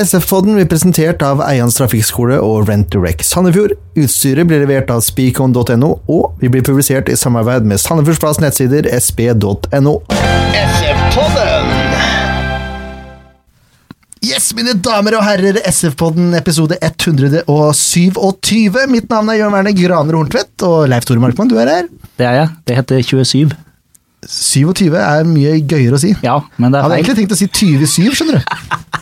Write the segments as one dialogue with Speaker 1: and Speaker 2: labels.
Speaker 1: SF-podden blir presentert av Eians trafikkskole og Rent2Rec Sandefjord. Utstyret blir levert av speakon.no, og vi blir publisert i samarbeid med Sandefjordsplass nettsider sp.no. Yes, mine damer og herrer, SF-podden episode 127. Mitt navn er Jørn Werner Graner Horntvedt, og Leif Tore Markmann, du er her.
Speaker 2: Det er jeg. Det heter 27.
Speaker 1: 27 er mye gøyere å si.
Speaker 2: Ja, men det
Speaker 1: Jeg
Speaker 2: er
Speaker 1: hadde
Speaker 2: feil.
Speaker 1: egentlig tenkt å si 27, skjønner du.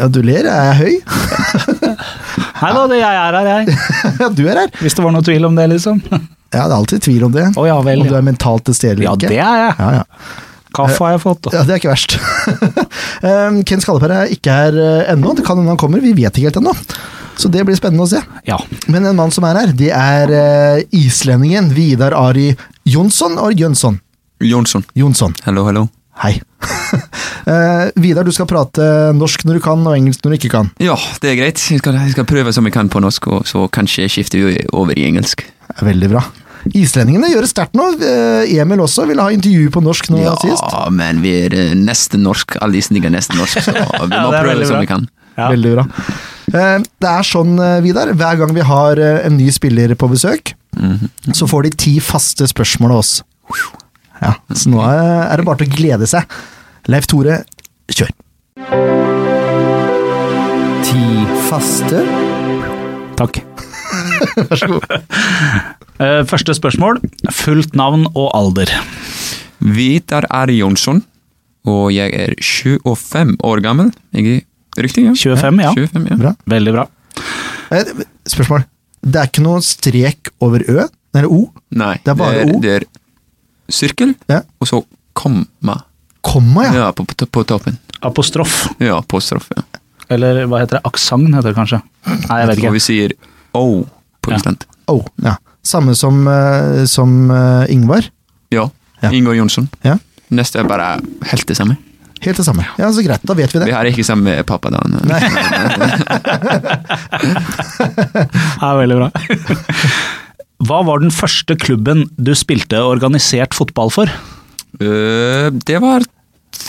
Speaker 1: Ja, du ler. Jeg er høy.
Speaker 2: Hei da, det jeg er her, jeg.
Speaker 1: Ja, du er her.
Speaker 2: Hvis det var noe tvil om det, liksom.
Speaker 1: Ja, det er alltid tvil om det.
Speaker 2: Å ja vel.
Speaker 1: Om du
Speaker 2: Ja.
Speaker 1: er mentalt til stede
Speaker 2: ja,
Speaker 1: eller
Speaker 2: det
Speaker 1: ikke.
Speaker 2: er jeg.
Speaker 1: Ja, ja.
Speaker 2: Kaffe har jeg fått. Da.
Speaker 1: ja, det er ikke verst. um, Ken Skallepær er ikke her eh, ennå. Det kan hende han kommer, vi vet ikke helt ennå. Så det blir spennende å se.
Speaker 2: Ja.
Speaker 1: Men en mann som er her, det er eh, islendingen Vidar Ari Jonsson. Og Jønsson.
Speaker 3: Jonsson.
Speaker 1: Jonsson.
Speaker 3: Hallo, hallo.
Speaker 1: Hei. Eh, Vidar, du skal prate norsk når du kan, og engelsk når du ikke kan.
Speaker 3: Ja, det er greit. Jeg skal, jeg skal prøve som jeg kan på norsk, og så kanskje jeg skifter jo over i engelsk.
Speaker 1: Det er Veldig bra. Islendingene gjør det sterkt nå. Eh, Emil også ville ha intervju på norsk nå
Speaker 3: Ja,
Speaker 1: sist.
Speaker 3: men vi er eh, nesten norsk. Alle isninger er nesten norsk, så vi
Speaker 2: Ja,
Speaker 3: må
Speaker 2: det er
Speaker 3: prøve
Speaker 2: veldig
Speaker 3: som
Speaker 2: bra.
Speaker 3: vi kan.
Speaker 2: Ja.
Speaker 1: Veldig bra. Eh, Det er sånn, eh, Vidar, hver gang vi har eh, en ny spiller på besøk, så får de ti faste spørsmål av oss. Ja, så nå eh, er er det bare til å glede seg. Leif Tore, kjør. Ti faste?
Speaker 2: Takk. Vær så god. Første spørsmål. Fullt navn og alder.
Speaker 3: Vidar er Jonsson, og jeg er 25 år gammel. Jeg er riktig, ja?
Speaker 2: 25, ja.
Speaker 3: 25, ja.
Speaker 1: Bra.
Speaker 2: Veldig bra.
Speaker 1: Eh, Spørsmål. Det er ikke noe strek over Ø, eller O,
Speaker 3: Nei,
Speaker 1: Det er bare O.
Speaker 3: Det er sirkel,
Speaker 1: Ja.
Speaker 3: og så komma.
Speaker 1: komma, Ah, ja.
Speaker 3: Ja, på, på, på toppen.
Speaker 2: Apostrof.
Speaker 3: Ja, apostrof. Ja.
Speaker 2: Eller hva heter det? Aksent heter det kanskje. Nei, jeg vet
Speaker 3: Og
Speaker 2: ikke.
Speaker 3: vi sier O på
Speaker 2: Ja.
Speaker 3: Island.
Speaker 1: O, ja. Samme som, eh, som eh, Ingvar.
Speaker 3: Ja.
Speaker 1: Ja.
Speaker 3: Ingo Jonsson.
Speaker 1: Ja.
Speaker 3: Neste er bare helt det samme.
Speaker 1: Helt det samme. Ja, så greit, da vet vi det.
Speaker 3: Vi har ikke samme pappa da. Nei.
Speaker 2: Ja, veldig bra. Hva var den første klubben du spilte organisert fotball for?
Speaker 3: Øh, det var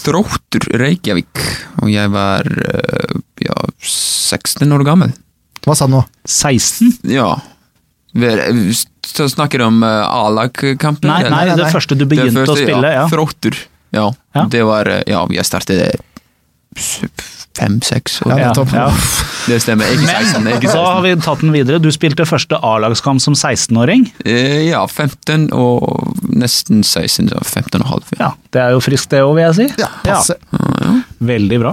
Speaker 3: Throttur Reykjavik, og jeg var øh, ja, 16 år gammel.
Speaker 1: Hva sa han nå?
Speaker 2: 16?
Speaker 3: Ja. Ver- Så snakker du om øh, A-lagkampen?
Speaker 2: Nei,
Speaker 3: eller?
Speaker 2: nei,
Speaker 1: nei,
Speaker 2: det
Speaker 1: nei.
Speaker 2: første du begynte
Speaker 3: Det første,
Speaker 2: å spille. Ja.
Speaker 3: Ja, Throttur. Ja.
Speaker 2: Ja.
Speaker 3: Det var øh, Ja, jeg startet fem-seks år.
Speaker 1: Ja, nettopp.
Speaker 2: Ja, ja.
Speaker 3: Det stemmer. Ikke 16.
Speaker 2: Men
Speaker 3: Ikke
Speaker 2: da
Speaker 3: 16.
Speaker 2: har vi tatt den videre. Du spilte første A-lagskamp som 16-åring.
Speaker 3: Eh, ja, 15 og nesten 16. så 15 og halv. Ja.
Speaker 2: Ja, Det er jo friskt det òg, vil jeg si.
Speaker 1: Ja, passe.
Speaker 2: Veldig bra.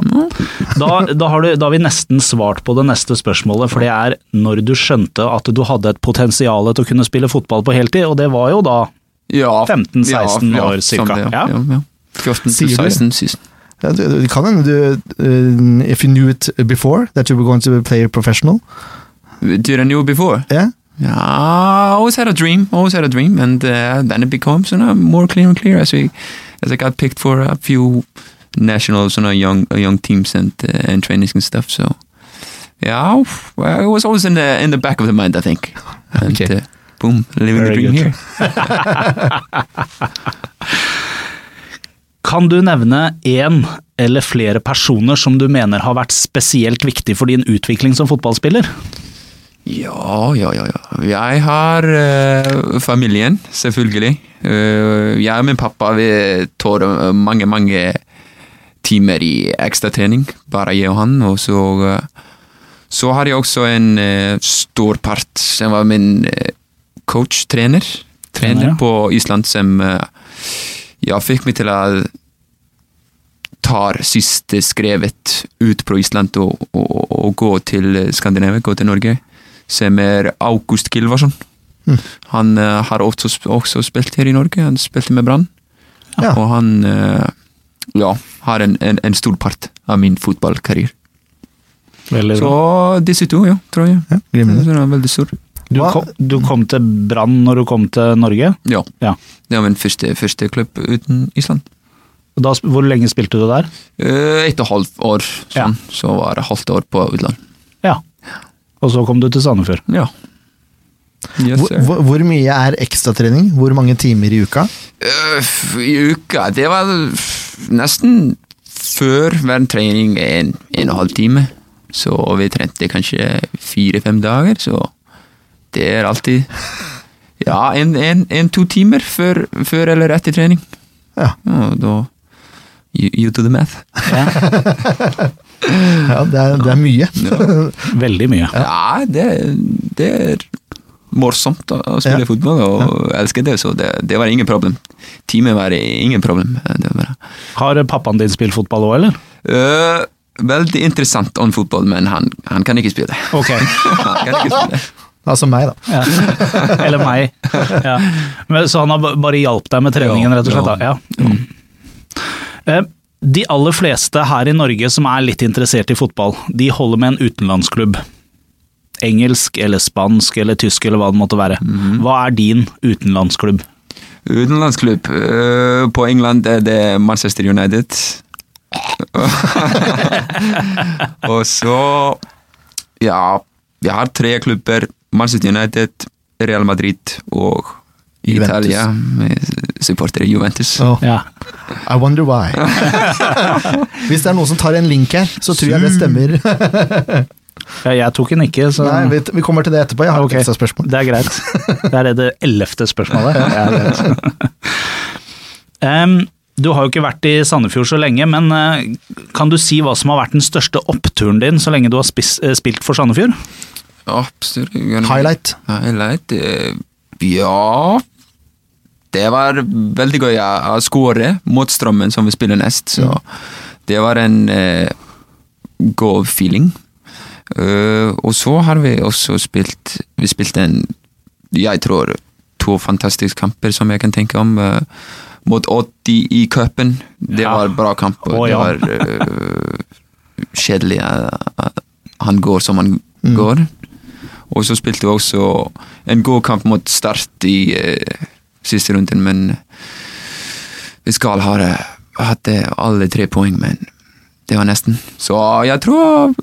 Speaker 2: Da, da, har du, da har vi nesten svart på det neste spørsmålet, for det er når du skjønte at du hadde et potensial til å kunne spille fotball på heltid, og det var jo da
Speaker 3: Ja,
Speaker 2: 15, 16 år,
Speaker 3: som
Speaker 2: cirka.
Speaker 3: det,
Speaker 2: Ja.
Speaker 3: Ja. Ja, ja. 14
Speaker 1: Sier
Speaker 3: til
Speaker 1: du
Speaker 3: 16 sist.
Speaker 1: Ja, du, du- det kan hende du uh, If you knew it before that you were going to play professional.
Speaker 3: Did I know before?
Speaker 1: Yeah?
Speaker 3: Yeah, I always had a dream, always had a dream, and uh, then it becomes you know, more clear and clear as we, as I got picked for a few nationals and you know, young young teams and uh, and trainings and stuff. So yeah, well, it was always in the in the back of the mind, I think. And
Speaker 1: Okay.
Speaker 3: uh, boom, living
Speaker 2: Very
Speaker 3: the dream
Speaker 2: good.
Speaker 3: here.
Speaker 2: Kan du nevne én eller flere personer som du mener har vært spesielt viktig for din utvikling som fotballspiller?
Speaker 3: Ja, ja, ja. ja. Jeg har eh, familien, selvfølgelig. Eh, jeg og min pappa vi tar eh, mange, mange timer i ekstratrening, bare jeg og han. Og så, eh, så har jeg også en eh, stor part som var min eh, coach, trener.
Speaker 2: Trener,
Speaker 3: Trener
Speaker 2: ja.
Speaker 3: på Island som eh, ja, fikk meg til å tar siste skrevet ut på Island og, og, og gå til Skandinavia, gå til Norge, som er August Gilvarsson. Han eh, har også, sp- også spilt her i Norge, han spilte med Brann.
Speaker 1: Ja.
Speaker 3: Og han eh, ja, har en, en, en stor part av min fotballkarriere.
Speaker 2: Veldig
Speaker 3: Så disse to, ja, tror jeg.
Speaker 1: Ja,
Speaker 2: Mm,
Speaker 1: glimrende.
Speaker 3: Den er veldig stor.
Speaker 2: Du
Speaker 1: Hva-
Speaker 2: kom, du kom til Brann når du kom til Norge.
Speaker 3: Ja.
Speaker 2: Ja.
Speaker 3: Det var min første, første klubb uten Island.
Speaker 2: Og Da, sp- hvor lenge spilte du der?
Speaker 3: Eh, Ett og et halvt år,
Speaker 2: Ja.
Speaker 3: sånn. Så var det halvt år på utland.
Speaker 2: Ja. Og så kom du til Sandefjord.
Speaker 3: Ja. Yes,
Speaker 1: Hvor,
Speaker 3: sir.
Speaker 1: hvor, hvor mye er ekstratrening? Hvor mange timer i uka?
Speaker 3: Øh, I uka Det var nesten før hver trening en, en og en halv time. Så vi trente kanskje fire-fem dager, så det er alltid Ja, en, en, en to timer før, før eller etter trening.
Speaker 1: Ja.
Speaker 3: Og da you, you do the math.
Speaker 1: Ja, det er, det er mye.
Speaker 2: Veldig mye.
Speaker 3: Ja, det, det er morsomt å å spille
Speaker 1: Ja.
Speaker 3: fotball, og jeg elsker det, så det, det var ingen problem. Timen var ingen problem. Det var bra.
Speaker 2: Har pappaen din spilt fotball òg, eller?
Speaker 3: Øh, veldig interessant om fotball, men han, han kan ikke spille.
Speaker 2: Ok.
Speaker 3: han kan ikke spille.
Speaker 1: Altså meg, da.
Speaker 2: Ja. Eller meg. Ja. Men, så han har ba- bare hjulpet deg med treningen,
Speaker 3: Ja,
Speaker 2: rett og slett? Da. Ja. Mm. Eh, De aller fleste her i Norge som er litt interessert i fotball, de holder med en utenlandsklubb. Engelsk eller spansk eller tysk eller hva det måtte være. Hva er din utenlandsklubb?
Speaker 3: Utenlandsklubb. Øh, på England er det Manchester United. og så Ja, vi har tre klubber. Manchester United, Real Madrid og
Speaker 1: Juventus.
Speaker 3: Italia. Med supportere i Juventus.
Speaker 1: Åh,
Speaker 2: Ja.
Speaker 1: I wonder why. Hvis det er noen som tar en link her, så tror jeg det stemmer.
Speaker 2: Ja, Jeg tok den ikke, så
Speaker 1: Nei, vi, vi kommer til det etterpå. Jeg har
Speaker 2: Ah, Ok.
Speaker 1: et ekstra spørsmål.
Speaker 2: Det er greit. Det er det det ellevte spørsmålet. Ja, det er greit. Em, du har jo ikke vært i Sandefjord så lenge, men eh, kan du si hva som har vært den største oppturen din så lenge du har spis, eh, spilt for Sandefjord?
Speaker 3: Absolutt.
Speaker 1: Highlight.
Speaker 3: Highlight eh, Ja Det var veldig gøy å å score mot Strømmen, som vi spiller nest. Så
Speaker 2: Mm.
Speaker 3: det var en eh, god feeling. Eh, og så har vi også spilt Vi spilte en Jeg tror to fantastiske kamper som jeg kan tenke om. eh, mot 80 i cupen. Det
Speaker 2: Ja.
Speaker 3: var bra kamp. og
Speaker 2: Å,
Speaker 3: det
Speaker 2: ja.
Speaker 3: var eh, kjedelig at han går som han
Speaker 2: Mm.
Speaker 3: går. Og så spilte vi også en god kamp mot Start i eh, siste runden, men vi skal ha det. hatt det alle tre poeng, men det var nesten. Så jeg tror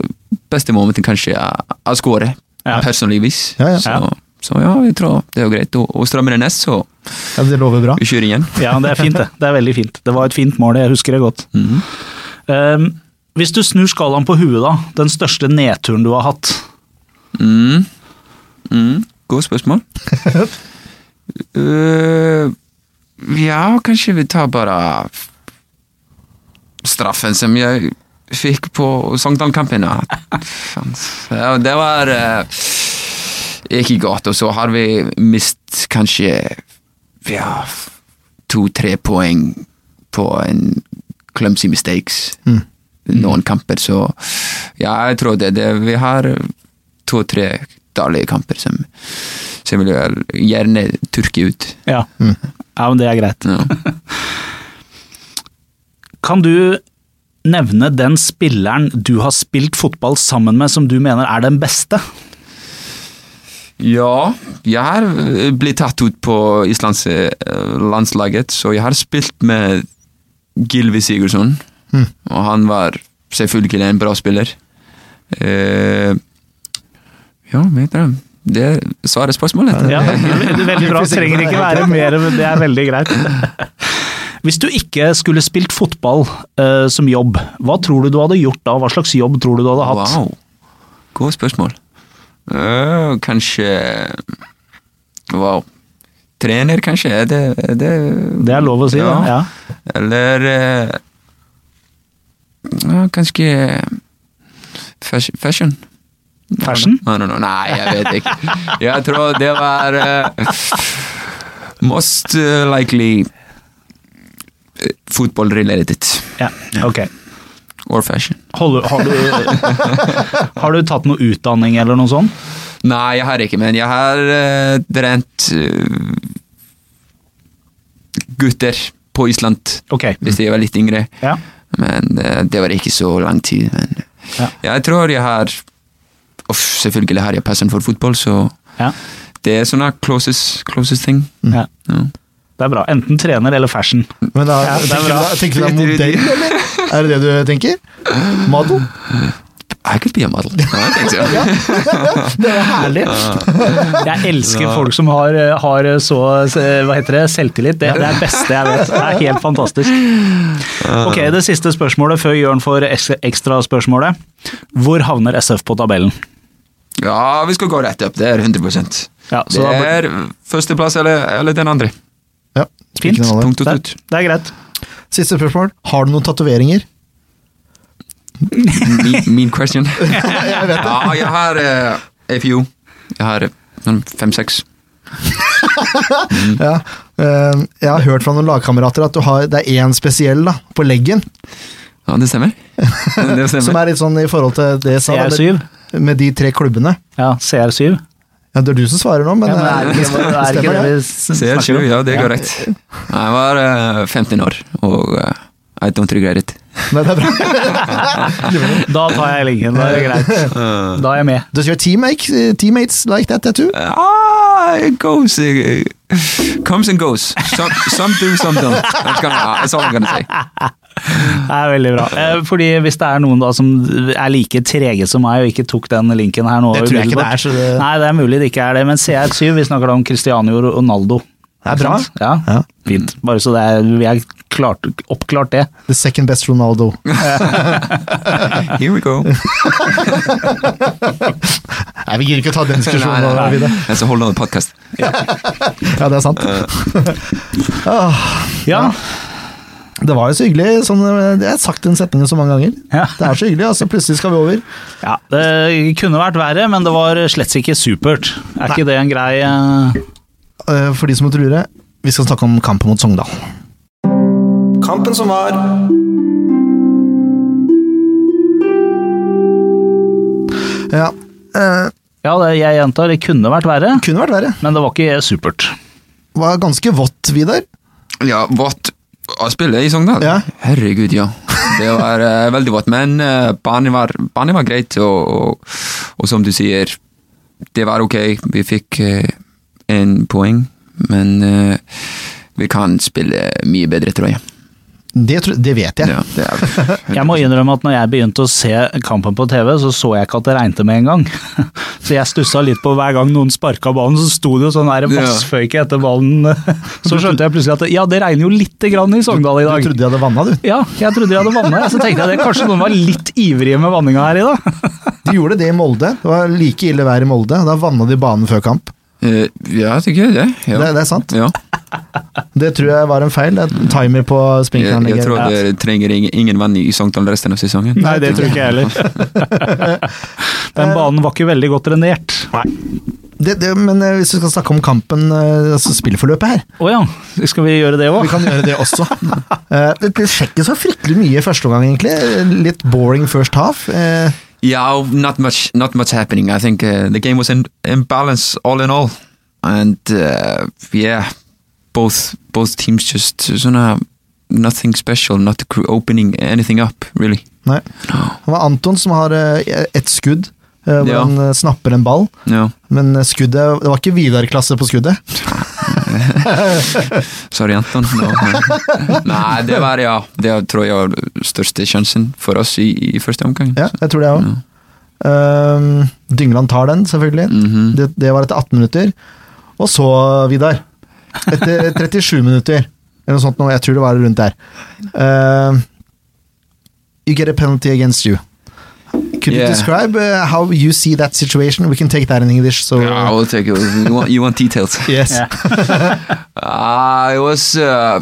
Speaker 3: beste momentet kanskje er å skåre,
Speaker 2: Ja.
Speaker 3: personligvis.
Speaker 1: Ja, ja.
Speaker 3: Så, så ja, jeg tror det er jo greit. Og, og strammer det nest, så
Speaker 1: Ja, det lover bra.
Speaker 3: vi kjører igjen.
Speaker 2: Ja, det er fint, det. Det er veldig fint. Det var et fint mål, jeg husker det godt. Em, hvis du snur skalaen på huet, da. Den største nedturen du har hatt.
Speaker 3: Mm. Mm. Godt spørsmål. Eh, ja, kanskje vi tar bare straffen som jeg fikk på Sogndal-kampen. ja. Faen. Ja, det var eh, ikke godt. Og så har vi mist kanskje ja, to-tre poeng på en clumsy mistakes noen kamper, så ja, jeg tror det. det vi har to-tre dårlige kamper som, som vil eh, gjerne tørke ut.
Speaker 2: Ja. ja, men det er greit.
Speaker 3: Ja.
Speaker 2: Kan du nevne den spilleren du har spilt fotball sammen med som du mener er den beste?
Speaker 3: Ja, jeg har eh, blitt tatt ut på Islands eh, landslaget, så jeg har spilt med Gylvi Sigurdsson, og han var selvfølgelig en bra spiller. Eh, ja, vet dere, det svarer spørsmålet.
Speaker 2: Ja, veldig bra. Trenger ikke være mer, men det er veldig greit. Hvis du ikke skulle spilt fotball eh, som jobb, hva tror du du hadde gjort da? Hva slags jobb tror du du hadde hatt?
Speaker 3: Wow. Godt spørsmål. Øh, kanskje Wow. Trener, kanskje? Er det, er det
Speaker 2: Det er lov å si, det. Ja.
Speaker 3: Eller eh, ja, Kanskje fas- fashion?
Speaker 2: Fashion?
Speaker 3: Nei, nei, nei, nei, jeg vet ikke. Jeg tror det var eh, most øh, likely eh, football related
Speaker 2: ja. Ok.
Speaker 3: or fashion.
Speaker 2: Holder- har, du, har du tatt noe utdanning eller noe sånt?
Speaker 3: Nei, jeg har ikke, men jeg har eh, trent eh, gutter på Island
Speaker 2: Ok.
Speaker 3: hvis jeg var litt yngre.
Speaker 2: Ja.
Speaker 3: Men eh, det var ikke så lang tid. Men
Speaker 2: Ja.
Speaker 3: jeg tror jeg har Uff, Selvfølgelig har jeg passion for fotball, så
Speaker 2: Ja.
Speaker 3: det er sånne closest, closest ting.
Speaker 2: ja.
Speaker 3: Ja.
Speaker 2: Det er bra. Enten trener eller fashion.
Speaker 1: Men da,
Speaker 2: Ja, det er
Speaker 1: tenker, du
Speaker 2: bra.
Speaker 1: da, tenker du da modell, eller? Er det det du tenker? Model?
Speaker 3: I could be a model. Ja, det tenkte jeg.
Speaker 1: Det er herlig.
Speaker 2: Jeg elsker folk som har, har så hva heter det, selvtillit. Det, det er det beste jeg vet. Det er helt fantastisk. Ok, Det siste spørsmålet før Jørn får eks- ekstraspørsmålet. Hvor havner SF på tabellen?
Speaker 3: Ja, vi skal gå rett opp. Det er 100
Speaker 2: Ja, så
Speaker 3: Det
Speaker 2: da blir-
Speaker 3: er førsteplass eller, eller den andre.
Speaker 1: Ja,
Speaker 2: Fint.
Speaker 1: spiller ingen rolle.
Speaker 3: Punkt
Speaker 2: Det,
Speaker 3: og slutt.
Speaker 2: det er greit.
Speaker 1: Siste spørsmål. Har du noen tatoveringer?
Speaker 3: Mean, mean question.
Speaker 1: Jeg vet det.
Speaker 3: Ja, jeg har eh, FU. Jeg har eh, fem-seks.
Speaker 1: Ja. Eh, Jeg har hørt fra noen lagkamerater at du har, det er én spesiell da, på leggen,
Speaker 3: Ja, det stemmer. Det
Speaker 1: som
Speaker 3: stemmer.
Speaker 1: er litt sånn i forhold til det jeg sa, da,
Speaker 2: CR7.
Speaker 1: med, med de tre klubbene.
Speaker 2: Ja, CR7.
Speaker 1: Ja, det er du som svarer nå, men
Speaker 2: Ja, men er det
Speaker 1: eh,
Speaker 2: ikke- er det ikke
Speaker 1: stemmer det?
Speaker 2: det vi s-
Speaker 3: Ser
Speaker 2: snakker
Speaker 3: sju,
Speaker 2: om?
Speaker 3: ja, det går rett. Jeg var eh, 15 år, og eh, I don't regret it.
Speaker 1: Nei, det er bra.
Speaker 2: Da tar jeg linken, da er det greit. Da er jeg med.
Speaker 1: Does your teammate, teammates like that tattoo?
Speaker 3: Ah, it goes, eh, comes and goes. Some, some do, some don't. That's, gonna, that's all I'm gonna say.
Speaker 2: Det er veldig bra. Eh, Fordi Hvis det er noen da som er like trege som meg og ikke tok den linken her nå
Speaker 1: Det tror jeg ikke det
Speaker 2: umiddelbart.
Speaker 1: er, så det-
Speaker 2: Nei, det er mulig det ikke er det. Men CR7, vi snakker da om Cristiano Ronaldo.
Speaker 1: Det er bra.
Speaker 2: Ja,
Speaker 1: Ja.
Speaker 2: fint. Bare så det er, vi er klart, oppklart det.
Speaker 1: The second best Ronaldo.
Speaker 3: Here we go.
Speaker 1: Nei, vi gidder ikke å ta den diskusjonen.
Speaker 3: Nei, nei, nei.
Speaker 1: Vidar.
Speaker 3: That's a whole other podcast.
Speaker 1: Ja, det er sant. Åh,
Speaker 2: Ja,
Speaker 1: det var jo så hyggelig. Sånn, eh, jeg har sagt den setningen så mange ganger.
Speaker 2: Ja.
Speaker 1: Det er så hyggelig, altså. Plutselig skal vi over.
Speaker 2: ja. Det kunne vært verre, men det var slett ikke supert. Er ikke det en grei eh,
Speaker 1: Eh, For de som måtte lure, vi skal snakke om kampen mot Sogndal. Kampen som var Ja. eh,
Speaker 2: Ja, det, jeg gjentar, det kunne vært verre,
Speaker 1: kunne vært verre.
Speaker 2: men det var ikke supert.
Speaker 1: Var ganske vått, Vidar.
Speaker 3: Ja, vått å spille i Sogndal?
Speaker 1: Ja.
Speaker 3: Herregud, ja. Det var eh, veldig vått, men eh, banen, var, banen var greit, og, og, og som du sier, det var ok. Vi fikk eh, en poeng, men eh, vi kan spille mye bedre, tror jeg.
Speaker 1: Det, tror- det vet jeg.
Speaker 3: Ja, det er,
Speaker 2: Jeg må innrømme at når jeg begynte å se kampen på TV, så så jeg ikke at det regnet med en gang. Så jeg stussa litt på hver gang noen sparka ballen, så sto det jo sånn der
Speaker 3: Ja.
Speaker 2: vassføyke etter ballen. Så skjønte jeg plutselig at ja, det regner jo lite grann i Sogndal i
Speaker 1: Du
Speaker 2: dag.
Speaker 1: trodde jeg hadde vanna, du.
Speaker 2: Ja, jeg trodde jeg hadde vanna, så tenkte jeg det. Kanskje noen var litt ivrige med vanninga her i dag.
Speaker 1: De gjorde det i Molde. Det var like ille vær i Molde. Da vanna de banen før kamp.
Speaker 3: Eh, ja, det er gøy, det. Ja.
Speaker 1: Det, det er sant.
Speaker 3: Ja.
Speaker 1: Det tror jeg var en feil. Det er en timer på
Speaker 3: Jeg, Eh, jeg
Speaker 1: sprinkleranlegget.
Speaker 3: tror dere trenger ingen, ingen vann i Sogndal resten av sesongen.
Speaker 2: Nei, det tror ikke jeg heller. Den banen var ikke veldig godt drenert.
Speaker 1: Det, det, men eh, hvis vi skal snakke om kampen, eh, altså spillforløpet her
Speaker 2: Å ja, skal vi gjøre det
Speaker 1: Vi
Speaker 2: òg?
Speaker 1: kan gjøre det også. Eh, Det det skjer ikke så fryktelig mye i første omgang, egentlig. Litt boring first half. Eh,
Speaker 3: Yeah, not much, not much happening. I think uh, the game was in, in balance all in all, and uh, yeah, both both teams just sånn, uh, nothing special, not cr- opening anything up really.
Speaker 1: Nei.
Speaker 3: No,
Speaker 1: Det var Anton som har eh, ett skudd, eh, hvor
Speaker 3: Ja.
Speaker 1: han eh, snapper en ball.
Speaker 3: no.
Speaker 1: Men eh, skuddet Det var ikke Vidar-klasse på skuddet.
Speaker 3: Sorry, Anton. No. Nei, det var ja, det tror jeg var største sjansen for oss i, i første omgang.
Speaker 1: Ja, jeg tror det òg.
Speaker 3: Ja.
Speaker 1: Um, Dyngland tar den, selvfølgelig.
Speaker 3: Mhm.
Speaker 1: det, det var etter 18 minutter. Og så, Vidar, etter 37 minutter, eller noe sånt nå, jeg tror det var rundt der uh, You get a penalty against you. Could you
Speaker 3: Yeah.
Speaker 1: describe uh, how you see that situation? We can take that in English, so
Speaker 3: Yeah, I will take it. You want, you want details?
Speaker 1: Yes.
Speaker 2: Ja.
Speaker 3: Uh, it was. Uh,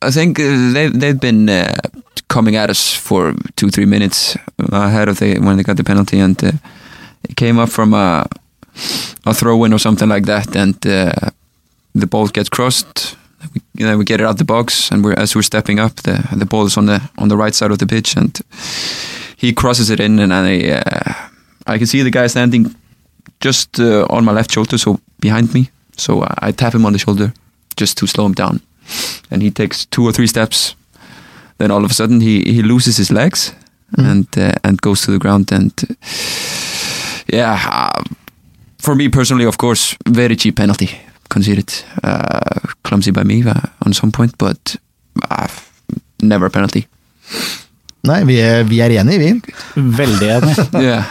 Speaker 3: I think uh, they they've been uh, coming at us for two three minutes ahead of the when they got the penalty, and uh, it came up from a a throw in or something like that, and uh, the ball gets crossed. We, then we get it out the box, and we're as we're stepping up, the the ball is on the on the right side of the pitch, and he crosses it in, and I uh, I can see the guy standing just uh, on my left shoulder, so behind me. So I, I tap him on the shoulder just to slow him down, and he takes two or three steps. Then all of a sudden he he loses his legs
Speaker 1: Mm.
Speaker 3: and uh, and goes to the ground. And uh, yeah, uh, for me personally, of course, very cheap penalty conceded, uh, clumsy by me uh, on some point, but uh, never a penalty.
Speaker 1: Nei, vi er, vi er enige, vi.
Speaker 2: Veldig enig.
Speaker 3: Ja.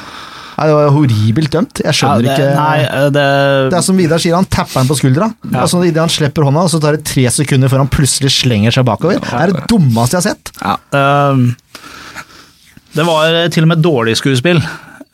Speaker 1: Nei, det var horribelt dømt. Jeg skjønner
Speaker 2: Ja, det,
Speaker 1: ikke
Speaker 2: Nei, eh, det,
Speaker 1: Det er som Vidar sier, han tapper han på skuldra.
Speaker 2: Ja.
Speaker 1: Og så Idet han slipper hånda, så tar det tre sekunder før han plutselig slenger seg bakover. Det er det dummeste jeg har sett.
Speaker 2: ja, eh, det var til og med dårlig skuespill.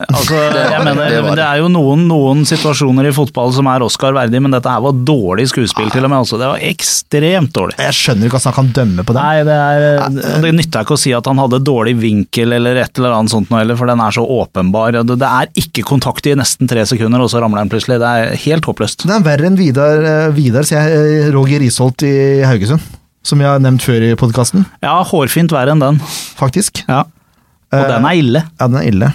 Speaker 2: Altså, jeg mener, det,
Speaker 3: det var det.
Speaker 2: er jo noen, noen situasjoner i fotball som er Oscar verdig, men dette her var dårlig skuespill til og med. Altså. Det var ekstremt dårlig.
Speaker 1: Jeg skjønner ikke hvordan han kan dømme på det.
Speaker 2: Nei, det, er, eh, det nytter ikke å si at han hadde dårlig vinkel eller et eller annet sånt noe heller, for den er så åpenbar. Det det er ikke kontakt i nesten tre sekunder, og så ramler han plutselig. Det er helt håpløst.
Speaker 1: Det er verre enn Vidar, eh, Vidar sier jeg, eh, Roger Risholt i Haugesund. Som jeg har nevnt før i podkasten,
Speaker 2: Ja, hårfint verre enn den.
Speaker 1: faktisk.
Speaker 2: Ja. Og
Speaker 1: Eh,
Speaker 2: den er ille.
Speaker 1: Ja, den er ille.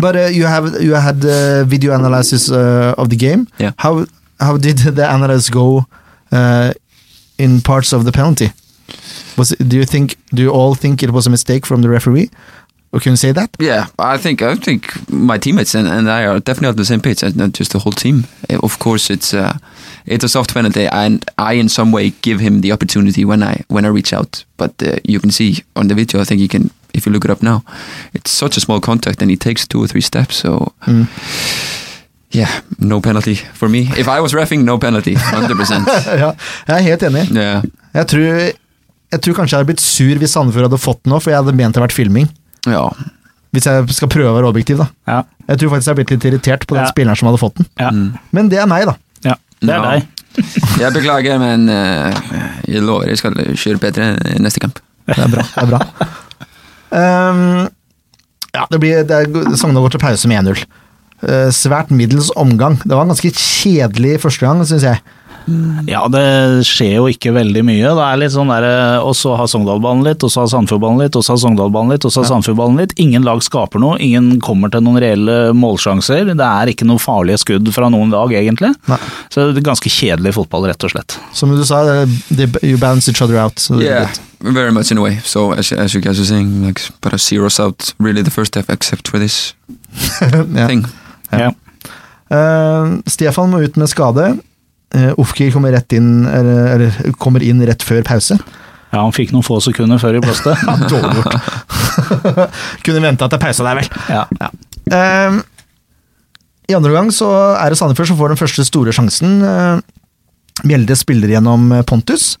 Speaker 1: But uh, you, have, you had uh, video analysis uh, of the game.
Speaker 3: Yeah.
Speaker 1: How, how did the analysis go uh, in parts of the penalty? Was it, do you think do you all think it was a mistake from the referee? Or can you say that?
Speaker 3: Yeah, I think I think my teammates and, and I are definitely on the same page, and not just the whole team. Uh, Of course, it's uh, it's a soft penalty, and I in some way give him the opportunity when I when I reach out. But uh, you can see on the video, I think you can if you look it up now, it's such a small contact, and he takes two or three steps. So
Speaker 1: Mm.
Speaker 3: yeah, no penalty for me. If I was refing, no penalty, hundred percent.
Speaker 1: ja, jeg er helt enig.
Speaker 3: Yeah,
Speaker 1: Jeg tror, jeg tror kanskje jeg hadde blitt sur hvis Sandefjord hadde fått den nå, for jeg hadde ment det hadde vært filming.
Speaker 3: yeah.
Speaker 1: Hvis jeg skal prøve å være objektiv, da.
Speaker 2: Ja.
Speaker 1: Jeg tror faktisk jeg har blitt litt irritert på den
Speaker 2: Ja.
Speaker 1: spilleren som hadde fått den.
Speaker 2: Ja.
Speaker 3: Mm.
Speaker 1: Men det er meg, da.
Speaker 2: ja. Det er
Speaker 3: Ja.
Speaker 2: deg.
Speaker 3: Jeg beklager, men uh, jeg lover jeg skal kjøre bedre eh, neste kamp.
Speaker 1: Det er bra. det er bra. Ehm, ja, det blir, det er, Sogndal går til pause med 1-0. Eh, svært middels omgang. Det var en ganske kjedelig første gang, syns jeg.
Speaker 2: Ja, det skjer jo ikke veldig mye. Det er litt sånn der, eh, Og så har Sogndalbanen litt, og så har Sandfjordbanen litt, og så har Sogndalbanen litt, og så har Sandfjordbanen litt. Ingen lag skaper noe, ingen kommer til noen reelle målsjanser. Det er ikke noen farlige skudd fra noen lag, egentlig.
Speaker 1: Nei.
Speaker 2: Så det er ganske kjedelig fotball, rett og slett.
Speaker 1: Som du sa, det- det- you balance each other out. Så det er
Speaker 3: Yeah,
Speaker 1: litt-
Speaker 3: very much in a way. So as as you guys are saying, like, but I zeros out really the first half, except for this
Speaker 1: ja.
Speaker 3: thing.
Speaker 2: Ja.
Speaker 1: Eh, Stefan må ut med skade. Uh, Ofker kommer, rett inn, eller, eller, kommer inn rett før pause.
Speaker 2: Ja, han fikk noen få sekunder før i blåste.
Speaker 1: Dårlig gjort. Kunne venta til pause der, vel.
Speaker 2: Ja.
Speaker 1: Ehm, I andre omgang så er det Sandefjord som får den første store sjansen. Ehm, Mjelde spiller gjennom eh, Pontus.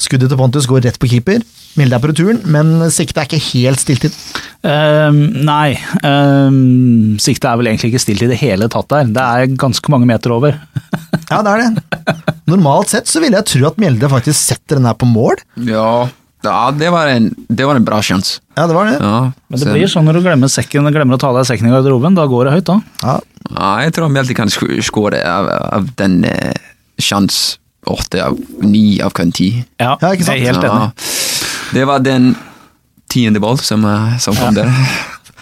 Speaker 1: Skuddet til Pontus går rett på keeper. Mjelde er på returen, men siktet er ikke helt stilt inn.
Speaker 2: Ehm, nei, ehm, siktet er vel egentlig ikke stilt i det hele tatt der. Det er ganske mange meter over.
Speaker 1: Ja, det er det. Normalt sett så ville jeg tro at Mjelde faktisk setter den her på mål.
Speaker 3: Ja, ja det, var en, det var en bra sjanse.
Speaker 1: Ja, det var det.
Speaker 3: Ja,
Speaker 2: Men det
Speaker 3: så-
Speaker 2: blir sånn når du glemmer sekken glemmer å ta av deg sekken i garderoben. Da går det høyt, da.
Speaker 1: Ja,
Speaker 3: ja, jeg tror Mjelti kan sk- skåre av, av den eh, sjans åtte av ni av kun ti.
Speaker 2: Ja,
Speaker 1: Ja, ikke sant?
Speaker 2: Jeg er helt enig.
Speaker 3: Ja, det var den tiende ball som, eh, som kom der.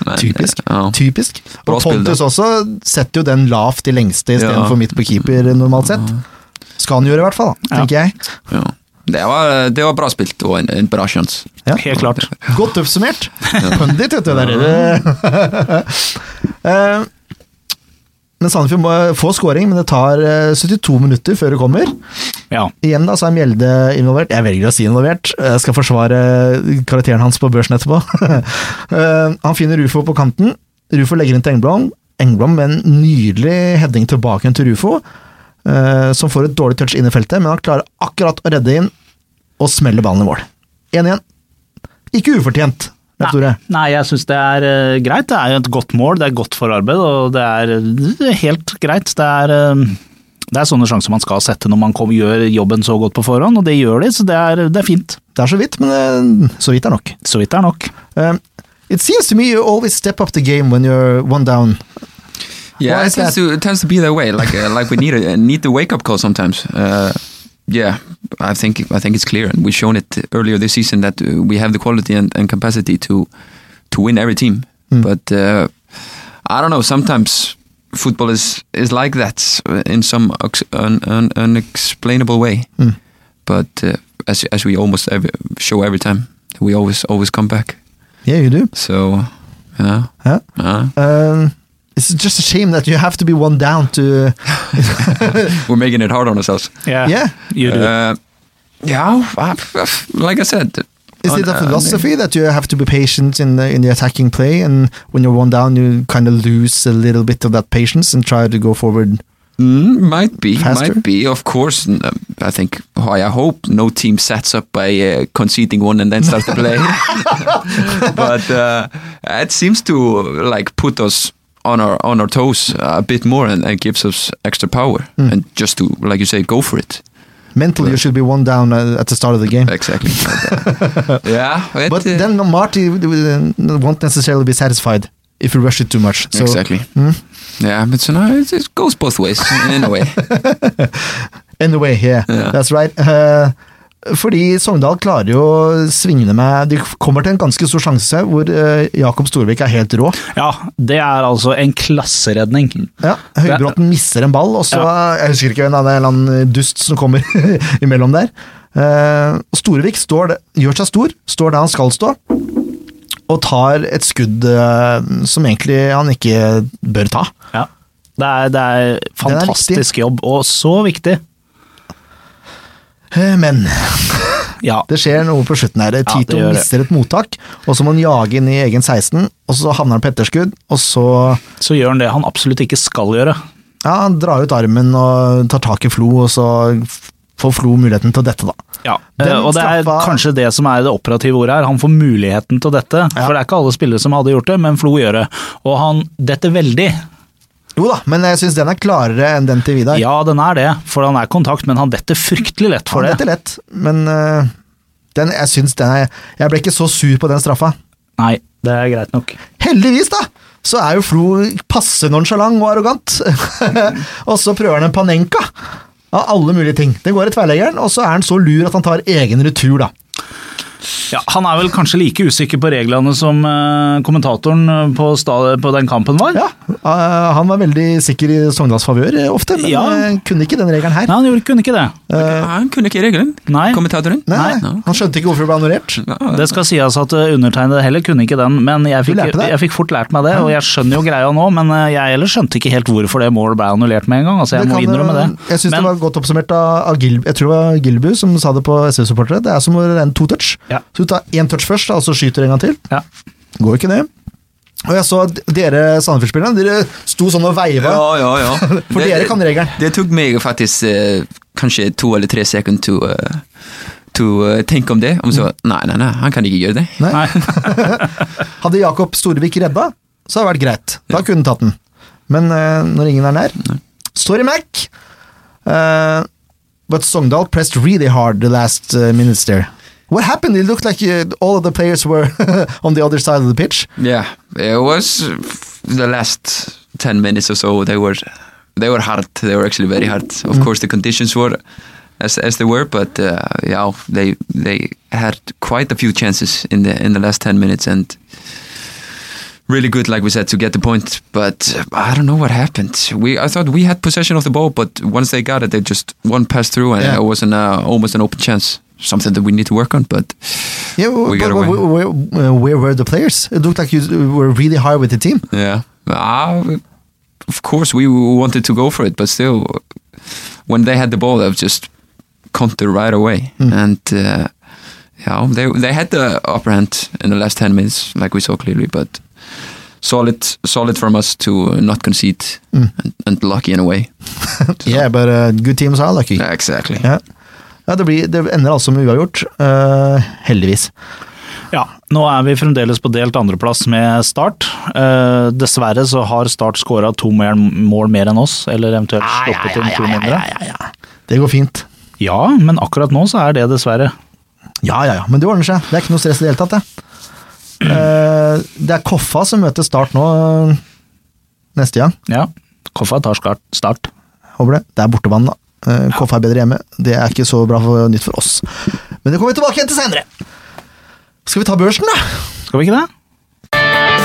Speaker 3: Men, eh,
Speaker 1: typisk.
Speaker 3: Ja.
Speaker 1: typisk.
Speaker 3: Bra
Speaker 1: Og
Speaker 3: spill, da.
Speaker 1: Pontus også setter jo den lavt i lengste istedenfor
Speaker 3: Ja.
Speaker 1: midt på keeper, normalt sett. Skal han gjøre, i hvert fall, da,
Speaker 2: Ja.
Speaker 1: tenker jeg.
Speaker 3: ja. Det, var, det var bra spilt og en, en bra sjanse.
Speaker 1: Ja.
Speaker 2: Helt klart.
Speaker 1: Godt oppsummert. Pundit, vet du. Der er det. Eh, Men Sandefjord må få scoring, men det tar eh, 72 minutter før det kommer.
Speaker 2: Ja.
Speaker 1: Igjen da, så er Mjelde involvert. Jeg velger å si involvert. Jeg skal forsvare karakteren hans på børsen etterpå. Eh, Han finner Rufo på kanten. Rufo legger inn til Engblom. Engblom med en nydelig heading tilbake igjen til Rufo, eh, som får et dårlig touch inn i feltet, men han klarer akkurat å redde inn og smelle ballen i mål. 1-1. Ikke ufortjent, Leif Tore.
Speaker 2: Nei, jeg syns det er eh, greit. Det er jo et godt mål, det er godt forarbeid, og det er eh, helt greit. Det er, eh, det er sånne sjanser man skal sette når man kom, gjør jobben så godt på forhånd, og det gjør de, så det er, det er fint.
Speaker 1: Det er så vidt, men eh, så vidt er nok.
Speaker 2: Så vidt det er nok.
Speaker 1: Eh, It seems to me you always step up the game when you're one down.
Speaker 3: Yeah,
Speaker 1: Why
Speaker 3: it
Speaker 1: is
Speaker 3: tends
Speaker 1: that?
Speaker 3: to it tends to be that way. Like uh, like we need a need the wake up call sometimes. Uh, yeah, I think I think it's clear, and we've shown it earlier this season that uh, we have the quality and, and capacity to to win every team.
Speaker 1: Hmm.
Speaker 3: But uh, I don't know. Sometimes football is is like that uh, in some ex- un, un, unexplainable way.
Speaker 1: Mm.
Speaker 3: But uh, as as we almost every, show every time, we always always come back.
Speaker 1: Yeah, you do.
Speaker 3: So, yeah,
Speaker 1: Yeah.
Speaker 3: uh,
Speaker 1: Um, it's just a shame that you have to be one down to
Speaker 3: we're making it hard on ourselves.
Speaker 1: Yeah.
Speaker 2: You do.
Speaker 3: Uh, yeah, I- ah, like I said,
Speaker 1: Is
Speaker 3: On-
Speaker 1: it a
Speaker 3: on-
Speaker 1: philosophy that you have to be patient in the in the attacking play, and when you're one down, you kind of lose a little bit of that patience and try to go forward?
Speaker 3: Mm, might be,
Speaker 1: Faster?
Speaker 3: might be. Of course, n- um, I think. oh, I hope no team sets up by uh, conceding one and then starts to play. but uh, it seems to like put us on our on our toes a bit more and, and gives us extra power
Speaker 1: Hmm.
Speaker 3: and just to like you say go for it
Speaker 1: Mentally, you should be one down uh, at the start of the game.
Speaker 3: exactly yeah it,
Speaker 1: But
Speaker 3: uh,
Speaker 1: then Marty w- w- won't necessarily be satisfied if you rush it too much. So hmm?
Speaker 3: exactly yeah but so now it, it goes both ways in a way
Speaker 1: Anyway, yeah,
Speaker 3: Ja.
Speaker 1: that's right. Eh, fordi Sogndal klarer jo å svinge med De kommer til en ganske stor sjanse hvor eh, Jakob Storvik er helt rå.
Speaker 2: Ja, det er altså en klasseredning.
Speaker 1: Ja, Høybråten misser en ball, og så Jeg husker ikke hvem det er, det er en eller annen dust som kommer imellom der. Eh, og Storevik står, det- gjør seg stor, står der han skal stå, og tar et skudd eh, som egentlig han ikke bør ta.
Speaker 2: Ja. Det er, det er fantastisk jobb, og så viktig.
Speaker 1: Eh, men
Speaker 2: Ja,
Speaker 1: det skjer noe på slutten her. Tito
Speaker 2: gjør det.
Speaker 1: mister et mottak, og så må han jage inn i egen 16, og så havner han på etterskudd, og så
Speaker 2: så gjør han det han absolutt ikke skal gjøre.
Speaker 1: ja, han drar ut armen og tar tak i Flo, og så f- får Flo muligheten til å dette, da.
Speaker 2: Ja,
Speaker 1: Den
Speaker 2: eh, og det er
Speaker 1: straffa-
Speaker 2: kanskje det som er det operative ordet her. Han får muligheten til dette, for det er ikke alle spillere som hadde gjort det, men Flo gjør det. Og han detter veldig.
Speaker 1: Jo da, men jeg syns den er klarere enn den til Vidar.
Speaker 2: Ja, den er det, for han er i kontakt, men han detter fryktelig lett
Speaker 1: Han
Speaker 2: for det.
Speaker 1: detter lett, men øh, den, jeg syns den er Jeg ble ikke så sur på den straffa.
Speaker 2: Nei, det er greit nok.
Speaker 1: Heldigvis, da! Så er jo Flo passe nonsjalant og arrogant. og så prøver han en panenka av alle mulige ting. Det går i tverrleggeren, og så er han så lur at han tar egen retur, da.
Speaker 2: Ja, han er vel kanskje like usikker på reglene som eh, kommentatoren eh, på, sta- på den kampen var?
Speaker 1: Ja, øh, Han var veldig sikker i Sogndals favør øh, ofte, men
Speaker 2: Ja.
Speaker 1: øh, kunne ikke den regelen her. Eh,
Speaker 2: Nei, han gjorde kunne ikke det.
Speaker 3: han kunne ikke regelen
Speaker 2: Nei.
Speaker 3: kommentatoren
Speaker 1: Nei,
Speaker 2: Nei,
Speaker 1: nei, Han skjønte ikke hvorfor det ble annullert.
Speaker 3: Ja,
Speaker 2: Det skal sies at eh, undertegnede heller kunne ikke den, men jeg
Speaker 1: Du
Speaker 2: fikk,
Speaker 1: lærte det.
Speaker 2: jeg fikk fort lært meg det, og jeg skjønner jo greia nå, men eh, jeg heller skjønte ikke helt hvorfor det målet ble annullert med en gang. Altså,
Speaker 1: Det
Speaker 2: jeg må
Speaker 1: kan, eh,
Speaker 2: innrømme det.
Speaker 1: Jeg synes
Speaker 2: Men-
Speaker 1: det var godt oppsummert av, av Gil, jeg tror det var Gilbu som sa det på SV-supportere. Det er som å renne to touch.
Speaker 2: Ja.
Speaker 1: Så du tar én touch først, da, og så skyter du en gang til.
Speaker 2: Ja.
Speaker 1: Går ikke det. Og jeg så at dere Sandefjord-spillerne, dere sto sånn og veiva.
Speaker 3: Ja, ja, ja.
Speaker 1: For
Speaker 3: Det-
Speaker 1: dere kan regelen.
Speaker 3: Det tok meg faktisk eh, kanskje to eller tre sekunder til å eh, til å, eh, tenke om det. Om så, nei, nei, nei, han kan ikke gjøre det.
Speaker 2: Nei.
Speaker 1: Hadde Jakob Storevik redda, så hadde det vært greit. Da kunne han tatt den. Men eh, når ingen er nær Sorry, Mac. Eh, but Sogndal pressed really hard the last eh, minutes there. What happened? It looked like eh, all of the players were on the other side of the pitch.
Speaker 3: Yeah, it was the last 10 minutes or so, they were, they were hard. They were actually very hard. Of course, the conditions were as, as they were, but uh, yeah, they, they had quite a few chances in the, in the last 10 minutes and really good, like we said, to get the point. But uh, I don't know what happened. We I thought we had possession of the ball, but once they got it, they just one pass through and
Speaker 1: Yeah.
Speaker 3: it was an, uh, almost an open chance. Something that we need to work on, but
Speaker 1: Yeah, w-
Speaker 3: We
Speaker 1: but
Speaker 3: gotta
Speaker 1: w-
Speaker 3: win.
Speaker 1: where, where, where were the players? It looked like you were really high with the team.
Speaker 3: Yeah. Ah, of course, we wanted to go for it, but still, when they had the ball, they've just counter right away. And uh, yeah, they they had the upper hand in the last ten minutes, like we saw clearly. But solid, solid from us to not concede, and, and lucky in a way.
Speaker 1: Yeah, but uh, good teams are lucky. Yeah.
Speaker 3: Exactly.
Speaker 1: Ja, det, blir, det ender altså med uavgjort. eh, heldigvis.
Speaker 2: Ja, nå er vi fremdeles på delt andreplass med Start. Eh, dessverre så har Start skåra to mer, mål mer enn oss, eller eventuelt sluppet inn to mindre.
Speaker 1: Det går fint.
Speaker 2: Ja, men akkurat nå så er det dessverre.
Speaker 1: Ja, ja, ja, men det ordner seg. Det er ikke noe stress i det hele tatt. Det, Eh, det er Koffa som møter Start nå eh, neste gang.
Speaker 2: Ja, Koffa tar skart- Start.
Speaker 1: Håper det. Det er bortebane, da. Eh, Koffa er bedre hjemme. Det er ikke så bra for, nytt for oss. Men det kommer vi tilbake igjen til senere. Skal vi ta børsen, da?
Speaker 2: Skal vi ikke det?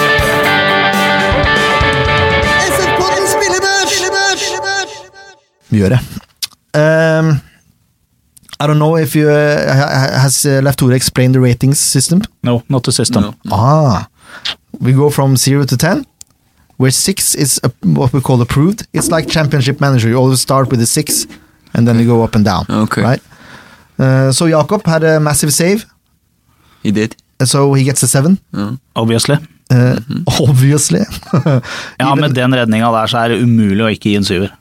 Speaker 4: SF-podden spillebørs! Spillebørs!
Speaker 1: Vi gjør det. Um, I don't know if you uh, ha- has uh, Left Tore explained the ratings system.
Speaker 2: No, not the system.
Speaker 3: No.
Speaker 1: Ah, we go from zero to ten, where six is a, what we call approved. It's like championship manager. You always start with a six, and then you go up and down.
Speaker 3: Okay.
Speaker 1: Right. Uh, so Jakob had a massive save.
Speaker 3: he did.
Speaker 1: So he gets a seven.
Speaker 2: Obviously.
Speaker 1: Uh, Obviously.
Speaker 2: Ja,
Speaker 1: Even-
Speaker 2: med den redninga der, så er det umulig å ikke gi en syver.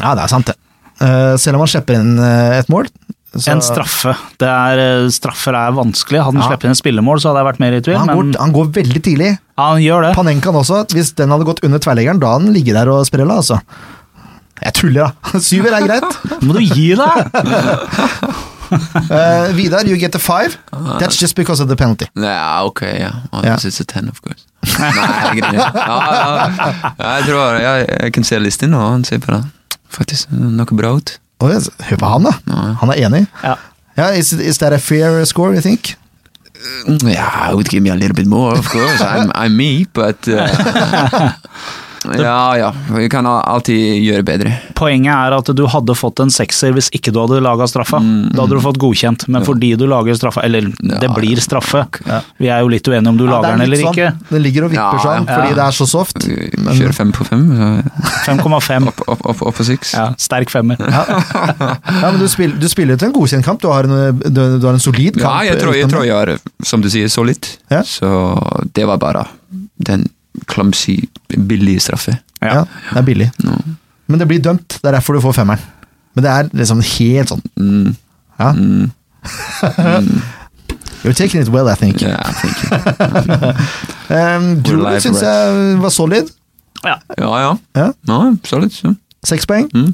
Speaker 1: Ja, det er sant, det. Eh, selv om han slipper inn eh, et mål. så-
Speaker 2: En straffe. Det er, eh, straffer er vanskelig. Hadde han
Speaker 1: Ja.
Speaker 2: sluppet inn et spillemål, så hadde jeg vært mer i tvil,
Speaker 1: Ja, han,
Speaker 2: men
Speaker 1: går, han går veldig tidlig.
Speaker 2: ja, han gjør det.
Speaker 1: Panenkan også. Hvis den hadde gått under tverrleggeren, da hadde han ligget der og sprella, altså. Jeg tuller, da. Syver er greit.
Speaker 2: Må du gi deg!
Speaker 1: Eh, Vidar, you get a five. That's just because of the penalty.
Speaker 3: Ja, ok, ja. Oh,
Speaker 1: Ja.
Speaker 3: This is a ten, of course. Nei, jeg griner. Ja, ja. ja, Jeg tror jeg, jeg kan se listen nå, han ser på det. Faktisk, noe bra ut.
Speaker 1: Å, yes. Hør på han, da. Han er enig.
Speaker 2: Ja.
Speaker 1: Ja, is, is that a fair score, you think?
Speaker 3: Yeah, I would give me a little bit more, of course. I'm, I'm me, but uh, Ja, ja. Vi kan al- alltid gjøre bedre.
Speaker 2: Poenget er at du hadde fått en sekser hvis ikke du hadde laga straffa. Da hadde du fått godkjent, men fordi du lager straffa Eller, det
Speaker 3: Ja.
Speaker 2: blir straffe. Vi er jo litt uenige om du
Speaker 1: Ja, det
Speaker 2: lager
Speaker 1: er
Speaker 2: den
Speaker 1: litt
Speaker 2: eller ikke.
Speaker 1: sånn, Den ligger og vipper
Speaker 3: Ja,
Speaker 1: sånn
Speaker 2: ja.
Speaker 1: fordi det er så soft.
Speaker 3: Vi Kjører fem på fem. Så
Speaker 1: sånn.
Speaker 2: 5,5.
Speaker 3: opp, opp, opp, opp på seks.
Speaker 2: Ja, sterk femmer.
Speaker 1: Ja, men du spiller, du spiller jo til en godkjent kamp. Du har en, du, du har en solid
Speaker 3: Ja,
Speaker 1: kamp.
Speaker 3: jeg tror, jeg
Speaker 1: utenom-
Speaker 3: tror jeg er, som du sier, så litt.
Speaker 1: Ja.
Speaker 3: Så det var bare den clumsy, billige straffe.
Speaker 1: Ja.
Speaker 2: Ja.
Speaker 1: det er billig. Men det blir dømt, det er derfor du får femmeren. Men det er liksom helt sånn
Speaker 3: Mm.
Speaker 1: ja. You're taking it well, I think.
Speaker 3: Ja, thank you.
Speaker 1: Um, Drunen
Speaker 3: live,
Speaker 1: syns
Speaker 3: right?
Speaker 1: jeg var solid.
Speaker 2: Ja.
Speaker 3: ja, ja.
Speaker 1: Ja.
Speaker 3: ja så litt. Så.
Speaker 1: Seks poeng.
Speaker 3: Mm.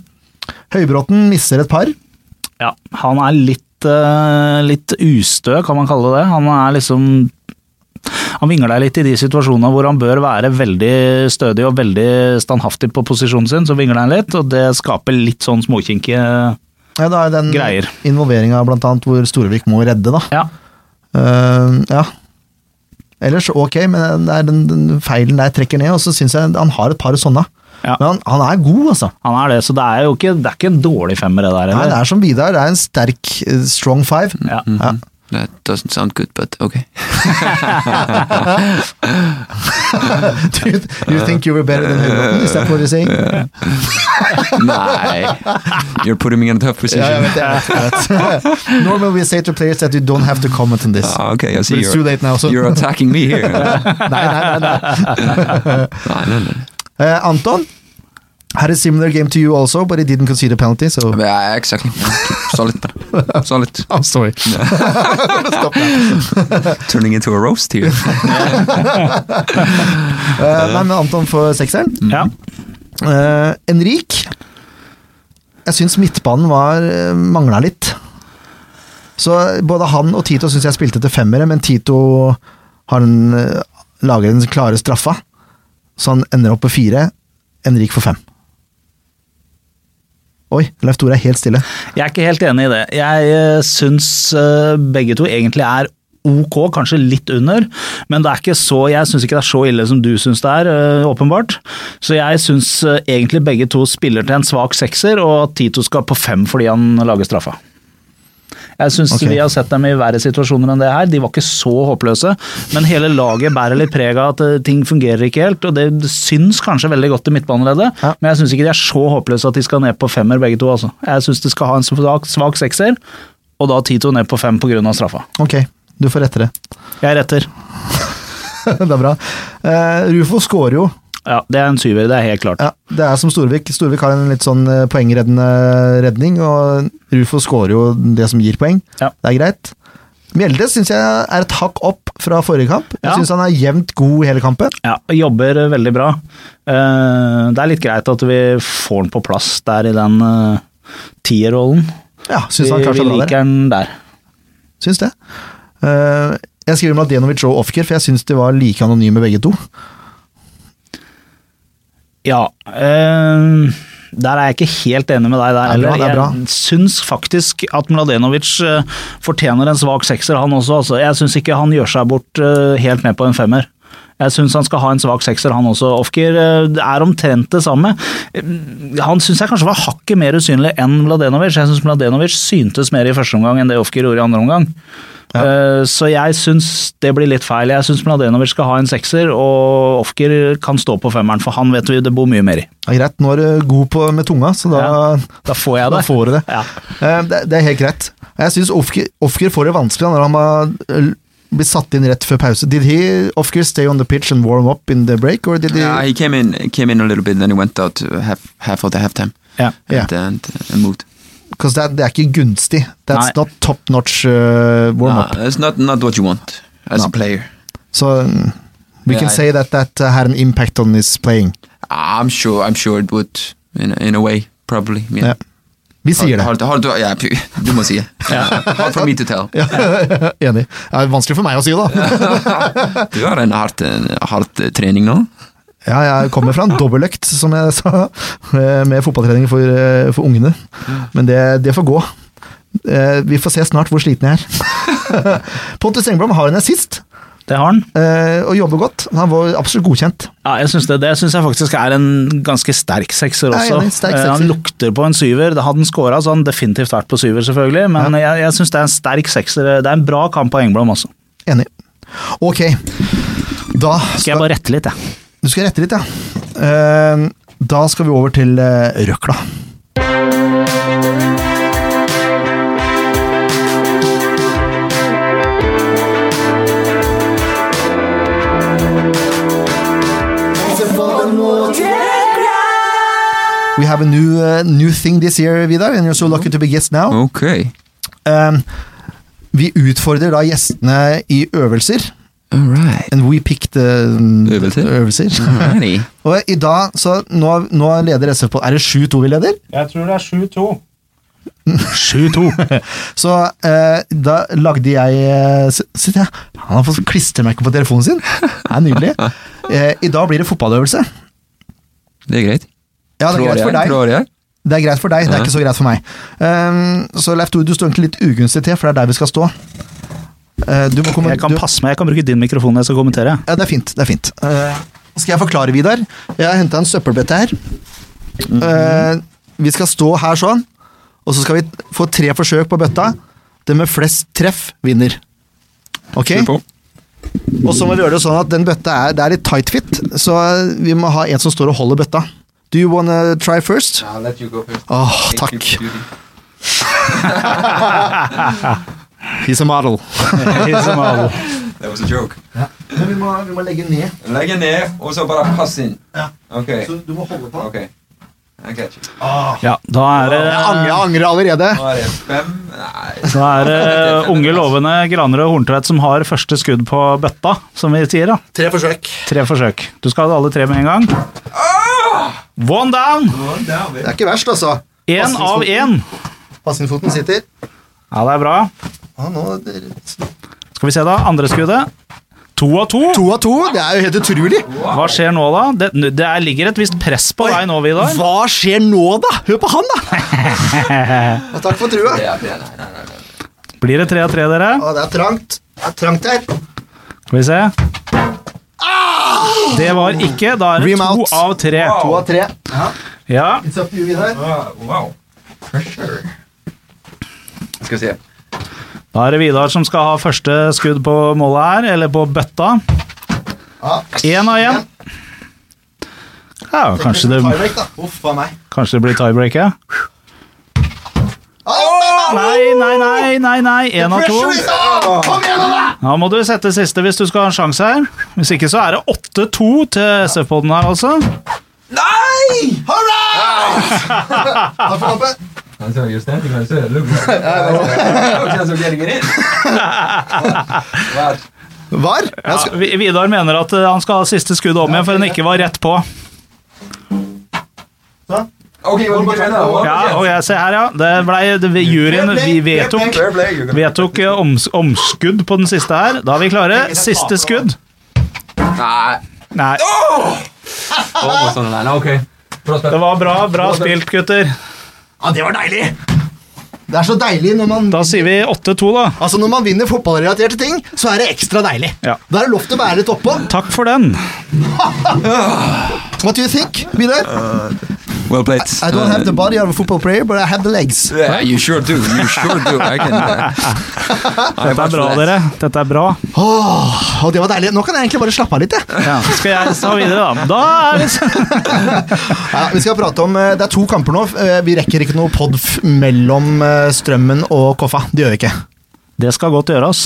Speaker 1: Høybråten mister et par.
Speaker 2: Ja, han er litt, eh, litt ustø, kan man kalle det. Han er liksom han vingler litt i de situasjonene hvor han bør være veldig stødig og veldig standhaftig på posisjonen sin, så vingler han litt, og det skaper litt sånn småkinkige
Speaker 1: Ja, da er den
Speaker 2: Greier.
Speaker 1: involveringa blant annet hvor Storevik må redde, da.
Speaker 2: Ja,
Speaker 1: Um, ja. Ellers ok, men det er den, den feilen der trekker ned, og så syns jeg han har et par sånne.
Speaker 2: Ja.
Speaker 1: Men han, han er god, altså.
Speaker 2: han er det, så det er jo ikke, det er ikke en dårlig femmer, det der.
Speaker 1: Nei, det
Speaker 2: Eller?
Speaker 1: er som Vidar, det er en sterk, eh, strong five.
Speaker 2: Ja.
Speaker 1: Ja.
Speaker 3: That doesn't sound good, but ok.
Speaker 1: Ah. Do you, do you think you were better than Høybråten? Is that what you're saying? Ja,
Speaker 3: Nei. You're putting me in a tough position.
Speaker 1: jeg vet det. jeg vet det. Normally we say to players that you don't have to comment on this.
Speaker 3: Ah, ok, jeg
Speaker 1: But
Speaker 3: sier
Speaker 1: it's too late now, so.
Speaker 3: You're attacking me here.
Speaker 1: Nei, nei, nei. nei.
Speaker 3: nei, nei, nei.
Speaker 1: Eh, Anton, had a similar game to you also, but he didn't concede a penalty, so
Speaker 3: Men Ja, exakt. Så litt. Så litt.
Speaker 1: I'm sorry.
Speaker 3: Turning into a roast here.
Speaker 1: Eh, nei, men Anton får sekseren.
Speaker 2: Ja.
Speaker 1: Eh, Enrik Jeg syns midtbanen var eh, mangla litt. Så eh, både han og Tito syns jeg spilte til femmere, men Tito har en, eh, lager den klare straffa. Så han ender opp på fire. Enrik får fem. Oi, Leif Tore er helt stille.
Speaker 2: Jeg er ikke helt enig i det. Jeg eh, syns eh, begge to egentlig er ok, kanskje litt under, men det er ikke så, jeg syns ikke det er så ille som du syns det er, eh, åpenbart. Så jeg syns eh, egentlig begge to spiller til en svak sekser, og at Tito skal på fem fordi han lager straffa. Jeg syns
Speaker 1: Ok.
Speaker 2: vi har sett dem i verre situasjoner enn det her. De var ikke så håpløse, men hele laget bærer litt preg av at eh, ting fungerer ikke helt, og det syns kanskje veldig godt i midtbaneleddet,
Speaker 1: Ja.
Speaker 2: men jeg syns ikke de er så håpløse at de skal ned på femmer begge to, altså. Jeg syns de skal ha en svak, svak sekser, og da Tito ned på fem pga. straffa.
Speaker 1: Ok, du får rette det.
Speaker 2: Jeg retter.
Speaker 1: det er bra. Eh, Rufo scorer jo.
Speaker 2: Ja, det er en syver, det er helt klart.
Speaker 1: Ja, det er som Storvik. Storvik har en litt sånn eh, poengreddende redning, og Rufo scorer jo det som gir poeng.
Speaker 2: Ja.
Speaker 1: Det er greit. Mjelde syns jeg er et hakk opp fra forrige kamp. Jeg
Speaker 2: Ja.
Speaker 1: syns han er jevnt god hele kampen.
Speaker 2: Ja, og jobber eh, veldig bra. Eh, Det er litt greit at vi får den på plass der i den eh, tierrollen.
Speaker 1: Ja,
Speaker 2: Vi,
Speaker 1: syns han klarer
Speaker 2: vi
Speaker 1: seg bra
Speaker 2: liker
Speaker 1: der.
Speaker 2: den der.
Speaker 1: Syns det. Eh, jeg skriver Mladenovic og Ofker, for jeg syns de var like anonyme begge to.
Speaker 2: Ja. eh, der er jeg ikke helt enig med deg der
Speaker 1: Det er bra,
Speaker 2: heller.
Speaker 1: det er bra.
Speaker 2: Jeg syns faktisk at Mladenovic eh, fortjener en svak sekser, han også. Altså. Jeg syns ikke han gjør seg bort eh, helt ned på en femmer. Jeg syns han skal ha en svak sekser, han også. Ofker eh, er omtrent det samme. Eh, Han syns jeg kanskje var hakket mer usynlig enn Mladenovic. Jeg syns Mladenovic syntes mer i første omgang enn det Ofker gjorde i andre omgang. Eh, Så jeg syns det blir litt feil. Jeg syns Mladenovic skal ha en sekser, og Ofker kan stå på femmeren, for han vet vi det bor mye mer i.
Speaker 1: Ja, greit, nå er du god på, med tunga, så da,
Speaker 2: Ja, Da får jeg
Speaker 1: da
Speaker 2: det.
Speaker 1: får du det.
Speaker 2: Ja.
Speaker 1: Eh, det. Det er helt greit. Jeg syns Ofker, Ofker får det vanskelig når han har Blir satt inn rett før pause. Did he of course stay on the pitch and warm up in the break, or did he
Speaker 3: Yeah, Ah, he came in came in a little bit, and then he went out to half half of the halftime.
Speaker 2: Ja.
Speaker 1: Yeah.
Speaker 3: And, and, and moved.
Speaker 1: Because that, det er ikke gunstig. That's
Speaker 2: Nei.
Speaker 1: not top notch uh, warm up.
Speaker 3: Nah, Ah, it's not not what you want as a
Speaker 1: No.
Speaker 3: player.
Speaker 1: So mm, we
Speaker 3: Yeah,
Speaker 1: can
Speaker 3: I-
Speaker 1: say that that uh, had an impact on his playing.
Speaker 3: I'm sure. I'm sure it would in in a way probably.
Speaker 1: Ja.
Speaker 3: Yeah.
Speaker 1: Vi sier det.
Speaker 3: Hard, hard, hard, ja, py- du må si det. Hard for me to tell.
Speaker 1: Ja, enig. Det er vanskelig for meg å si, da.
Speaker 3: Du har en hard, en hard eh, trening nå.
Speaker 1: Ja, jeg kommer fra en dobbeltøkt, som jeg sa, eh, med fotballtrening for, eh, for ungene. Men det, det får gå. Eh, Vi får se snart hvor sliten jeg er. Pontus Engblom har en assist,
Speaker 2: Det har han.
Speaker 1: eh, og jobber godt. Han var absolutt godkjent.
Speaker 2: Ja, jeg synes det, det syns jeg faktisk er en ganske sterk sekser
Speaker 1: Jeg er
Speaker 2: også.
Speaker 1: enig, sterk
Speaker 2: Eh, Han
Speaker 1: sekser.
Speaker 2: lukter på en syver. Det Hadde han scora, så hadde han definitivt vært på syver, selvfølgelig. Men jeg, jeg syns det er en sterk sekser. Eh, Det er en bra kamp av Engblom altså. også.
Speaker 1: Enig. Ok, da
Speaker 2: Skal jeg bare rette litt, jeg.
Speaker 1: Du skal rette litt, ja. Eh, Da skal vi over til eh, røkla. We have a new eh, new thing this year, Vidar, and you're so lucky to be guest now.
Speaker 3: Ok.
Speaker 1: Eh, vi utfordrer da gjestene i øvelser,
Speaker 3: All right.
Speaker 1: and we picked eh,
Speaker 3: Øvelser?
Speaker 1: øvelser.
Speaker 3: Alrighty.
Speaker 1: Og i dag, så nå, nå leder SF på Er det 7-2 vi leder?
Speaker 2: Jeg tror det er 7-2. 7-2.
Speaker 1: Så eh, da lagde jeg eh, s- Sitter jeg Han har fått sånn klistremerke på telefonen sin! Det er nydelig. Eh, I dag blir det fotballøvelse.
Speaker 3: Det er greit.
Speaker 1: Ja, det er
Speaker 3: Tror
Speaker 1: greit
Speaker 3: jeg,
Speaker 1: for deg.
Speaker 3: Tror jeg.
Speaker 1: Det er greit for deg, det er
Speaker 3: Ja.
Speaker 1: ikke så greit for meg. Um, så Leif Tore, du står egentlig litt ugunstig til, for det er der vi skal stå. Eh, du må komme
Speaker 2: Jeg kan
Speaker 1: du-
Speaker 2: passe meg, jeg kan bruke din mikrofon når jeg skal kommentere.
Speaker 1: Ja, det er fint. det er fint. Eh, skal jeg forklare, Vidar? Jeg har henta en søppelbøtte her. Eh, vi skal stå her sånn, og så skal vi få tre forsøk på bøtta. Den med flest treff vinner. Ok?
Speaker 3: Kjør på.
Speaker 1: Og så må vi gjøre det sånn at den bøtta er, det er litt tight fit, så vi må ha en som står og holder bøtta. Do you wanna try first?
Speaker 3: I'll let you go first.
Speaker 1: Åh, takk. He's a model.
Speaker 3: That was a joke.
Speaker 1: Men vi må, vi må legge den ned.
Speaker 3: Legg den ned, og så bare pass inn.
Speaker 1: Ja.
Speaker 3: Ok.
Speaker 1: Så du må holde på.
Speaker 3: Ok. I got you.
Speaker 2: Ja, da er det
Speaker 1: Jeg angrer, jeg angrer allerede.
Speaker 3: Nå er det fem Nei.
Speaker 2: da er det unge, lovende Graner og Horntvedt som har første skudd på bøtta, som vi sier. da.
Speaker 1: Tre forsøk.
Speaker 2: Tre forsøk. Du skal ha alle tre med en gang. One down!
Speaker 1: Det er ikke verst, altså.
Speaker 2: Én av én.
Speaker 1: Passingsfoten sitter.
Speaker 2: Ja, det er bra.
Speaker 1: Ja, nå,
Speaker 2: Skal vi se, da. Andre skuddet. To av to.
Speaker 1: to av to, det er jo helt utrolig!
Speaker 2: Hva skjer nå, da? Det, n- det er- ligger et visst press på deg nå, Vidar.
Speaker 1: Hva skjer nå, da? Hør på han, da! Ja, takk for trua.
Speaker 3: Ja, nei, nei, nei.
Speaker 2: Blir det tre av tre, dere?
Speaker 1: Å, det er trangt. Det er trangt her.
Speaker 2: Skal vi se. Det var ikke. Da er det
Speaker 1: Rim
Speaker 2: to
Speaker 1: out.
Speaker 2: av tre.
Speaker 1: To av tre.
Speaker 2: Ja,
Speaker 1: It's up to you, Vidar.
Speaker 3: Ah, wow. Pressure. Skal vi se.
Speaker 2: Da er det Vidar som skal ha første skudd på målet her, eller på bøtta.
Speaker 1: Ja.
Speaker 2: Én av én. Ja, kanskje det,
Speaker 1: Tiebreak, da. Uff a meg.
Speaker 2: kanskje det blir tiebreak, ja.
Speaker 1: Ah,
Speaker 2: Nei, nei, nei, nei, nei. Én av to.
Speaker 1: pressure is on! Kom igjen, nå, da!
Speaker 2: Da må du sette siste hvis du skal ha en sjanse her. Hvis ikke så er det 8-2 til SF-podden her, altså.
Speaker 1: Nei! Hurra! Takk for kampen.
Speaker 3: I saw you standing, I said, look. look, look, look getting it in. Wow.
Speaker 1: Var? Jeg
Speaker 2: Ja,
Speaker 1: skal-
Speaker 2: Vi- Vidar mener at eh, han skal ha siste skuddet om igjen, for han ikke var rett på.
Speaker 3: Okay, well, but I know.
Speaker 2: Ja, og jeg ser her, ja. Det ble, det, juryen vi vedtok,
Speaker 3: Fair play, you can-
Speaker 2: vedtok eh, oms, omskudd på den siste her. Da er vi klare. Siste skudd.
Speaker 3: Nei.
Speaker 2: Nei,
Speaker 3: Almost
Speaker 1: er
Speaker 3: on the line, okay.
Speaker 2: det var bra, bra spilt, gutter.
Speaker 1: Ja, det var deilig! Det er så deilig når man
Speaker 2: Da sier vi 8-2, da.
Speaker 1: Altså Når man vinner fotballrelaterte ting, så er det ekstra deilig.
Speaker 2: Ja.
Speaker 1: Da er det lov til å være litt oppå.
Speaker 2: Takk for den.
Speaker 1: What do you think, Vidar?
Speaker 3: Well played. Uh,
Speaker 1: I don't have the body of a football player, but I have the legs.
Speaker 3: Yeah, you sure do. You sure do. I can. Uh, I
Speaker 2: Dette er bra, dere. Dette er bra.
Speaker 1: Åh, og det var deilig. Nå kan jeg egentlig bare slappe av litt. Jeg.
Speaker 2: Ja, skal jeg ta videre, da? Da er vi
Speaker 1: Ja, vi skal prate om, eh, Det er to kamper nå. Eh, Vi rekker ikke noe pod f- mellom eh, Strømmen og Koffa. Det gjør vi ikke.
Speaker 2: Det skal godt gjøres.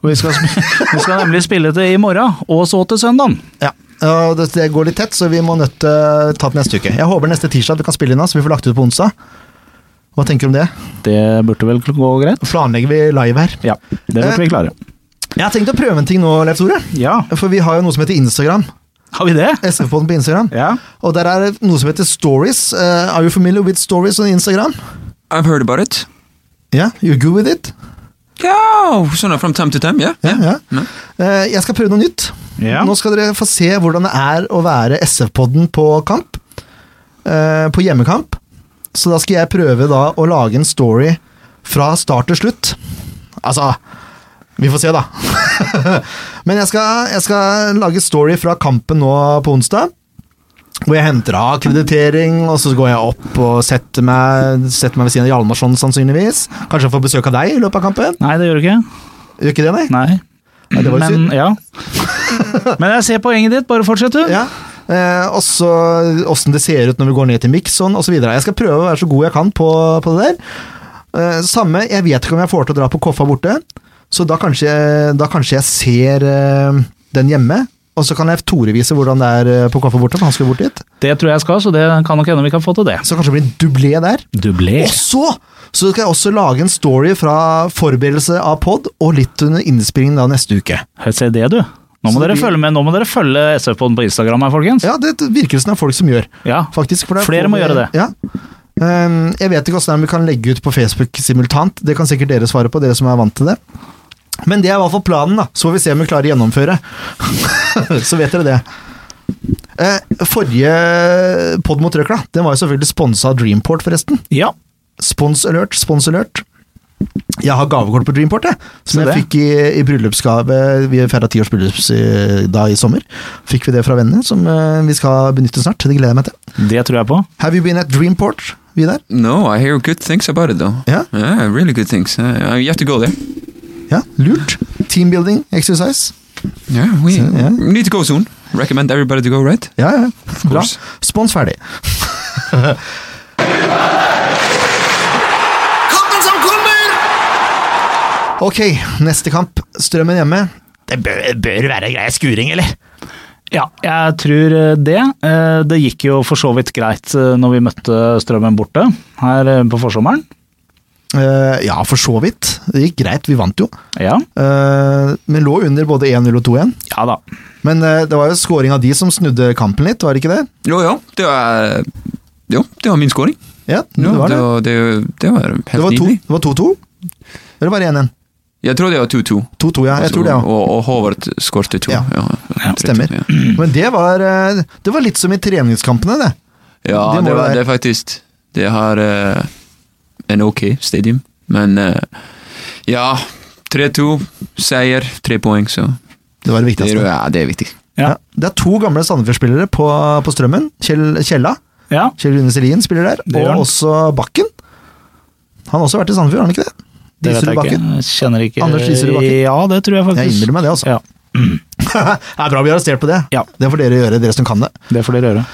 Speaker 2: Og vi skal, sp- vi skal nemlig spille til i morgen, og så til søndag.
Speaker 1: Ja, og det, det går litt tett, så vi må nødt til å ta det neste uke. Jeg håper neste tirsdag vi kan spille inn, så vi får lagt ut på onsdag. Hva tenker du om det?
Speaker 2: Det burde vel gå greit?
Speaker 1: Planlegger vi live her?
Speaker 2: Ja, det burde vi klare.
Speaker 1: Jeg har tenkt å prøve en ting nå, Leif Tore.
Speaker 2: Ja,
Speaker 1: For vi har jo noe som heter Instagram.
Speaker 2: har vi det?
Speaker 1: SF-podden på Instagram.
Speaker 2: Ja.
Speaker 1: Og der er det noe som heter Stories. Eh, are you familiar with Stories on Instagram?
Speaker 3: I've heard about it.
Speaker 1: Ja, you're good with it?
Speaker 3: Ja, sånn from time to time, ja.
Speaker 1: Ja, ja.
Speaker 3: Ja.
Speaker 1: Eh, jeg skal prøve noe nytt.
Speaker 2: Ja.
Speaker 1: Nå skal dere få se hvordan det er å være SF-podden på kamp. Eh, på hjemmekamp. Så da skal jeg prøve da å lage en story fra start til slutt. Altså Vi får se, da. Men jeg skal, jeg skal lage story fra kampen nå på onsdag. Hvor jeg henter av akkreditering, og så går jeg opp og setter meg, setter meg ved siden av Hjalmarsson, sannsynligvis. Kanskje jeg får besøk av deg i løpet av kampen?
Speaker 2: Nei, det gjør du ikke.
Speaker 1: Gjør ikke det, nei?
Speaker 2: Nei.
Speaker 1: Nei, det var jo
Speaker 2: Men, ja. Men jeg ser poenget ditt, bare fortsett du.
Speaker 1: Ja. Eh, også åssen det ser ut når vi går ned til sånn, Mixon osv. Jeg skal prøve å være så god jeg kan på, på det der. Eh, samme, jeg vet ikke om jeg får til å dra på Koffa borte, så da kanskje, da kanskje jeg ser eh, den hjemme. Og så kan jeg Tore vise hvordan det er eh, på Koffa borte, for han skal bort dit.
Speaker 2: Det tror jeg skal, så det kan nok hende vi kan få til det.
Speaker 1: Så kanskje det blir en dublé der.
Speaker 2: Dublé.
Speaker 1: Og så, så skal jeg også lage en story fra forberedelse av pod og litt under innspillingen da neste uke.
Speaker 2: Hør, Se det, du. Nå må
Speaker 1: Så det
Speaker 2: dere
Speaker 1: blir-
Speaker 2: følge med, nå må dere følge SF-podden på Instagram her, folkens.
Speaker 1: Ja, det virker det som det er folk som gjør.
Speaker 2: Ja.
Speaker 1: faktisk. For det er
Speaker 2: Flere må
Speaker 1: få-
Speaker 2: gjøre det.
Speaker 1: Ja. Ehm, jeg vet ikke hvordan vi kan legge ut på Facebook simultant. Det kan sikkert dere svare på, dere som er vant til det. Men det er i hvert fall planen, da. Så får vi se om vi klarer å gjennomføre. så vet dere det. Eh, forrige pod mot røkla, den var jo selvfølgelig sponsa av Dreamport, forresten.
Speaker 2: Ja.
Speaker 1: Spons alert, spons alert. Jeg har gavekort på Dreamport, jeg. Som
Speaker 2: Se
Speaker 1: jeg
Speaker 2: det.
Speaker 1: fikk i, i bryllupsgave. Vi feira ti års bryllups i, da i sommer. Fikk vi det fra vennene, som eh, vi skal benytte snart. Det gleder jeg meg til.
Speaker 2: Det tror jeg på.
Speaker 1: Have you been at Dreamport, Vidar?
Speaker 3: No, I hear good things about it though.
Speaker 1: Ja.
Speaker 3: Yeah, really good things. Uh, you have to go there.
Speaker 1: Ja, lurt. Teambuilding, exercise.
Speaker 3: Yeah, we
Speaker 1: So, yeah.
Speaker 3: we need to go soon. Recommend everybody to go, right?
Speaker 1: Ja, ja. Bra.
Speaker 3: course.
Speaker 1: Spons ferdig.
Speaker 4: Kampen som kommer!
Speaker 1: Ok, neste kamp. Strømmen hjemme. Det bør, bør være grei skuring, eller?
Speaker 2: Ja, jeg tror eh, det. Eh, Det gikk jo for så vidt greit eh, når vi møtte Strømmen borte her eh, på forsommeren.
Speaker 1: Eh, ja, for så vidt. Det gikk greit, vi vant jo.
Speaker 2: Ja,
Speaker 1: Eh, men lå under både 1-0 og 2-1.
Speaker 2: ja da.
Speaker 1: Men eh, det var jo scoring av de som snudde kampen litt, var det ikke det?
Speaker 3: Jo, ja, det var, jo, det var min scoring.
Speaker 1: Ja,
Speaker 3: Jo,
Speaker 1: det var det.
Speaker 3: var, det, det var helt
Speaker 1: Det var to-
Speaker 3: nydelig.
Speaker 1: det var 2-2. Eller var det 1-1?
Speaker 3: Jeg tror det var 2-2.
Speaker 1: 2-2, ja. Jeg
Speaker 3: Altså,
Speaker 1: tror det, ja.
Speaker 3: Og, og Håvard skårte to.
Speaker 1: Ja. Stemmer.
Speaker 3: Ja,
Speaker 1: Men det var, eh, det var litt som i treningskampene, det.
Speaker 3: ja
Speaker 1: Det
Speaker 3: det,
Speaker 1: må
Speaker 3: var,
Speaker 1: være-
Speaker 3: det er faktisk Det har eh, en ok stadium, men eh, ja 3-2, seier, tre poeng, så
Speaker 1: Det var det
Speaker 3: det,
Speaker 1: viktigste.
Speaker 3: er- ja, det er viktig.
Speaker 1: Ja.
Speaker 2: Ja.
Speaker 1: Det er to gamle Sandefjord-spillere på, på Strømmen. Kjell, Kjella.
Speaker 2: Ja,
Speaker 1: Kjell Rune Selin spiller der.
Speaker 2: Det gjør han.
Speaker 1: Og også Bakken. Han har også vært i Sandefjord, har han ikke det?
Speaker 2: det vet
Speaker 1: Diserud
Speaker 2: jeg ikke. Hm.
Speaker 1: Bakken.
Speaker 2: Jeg Kjenner ikke
Speaker 1: Anders Diserud Bakken.
Speaker 2: Ja, det tror jeg
Speaker 1: Jeg
Speaker 2: faktisk.
Speaker 1: innbiller meg det, altså.
Speaker 2: Ja,
Speaker 1: det er bra vi har arrestert på det.
Speaker 2: Ja.
Speaker 1: Det får dere gjøre, dere som kan det.
Speaker 2: det får dere gjøre.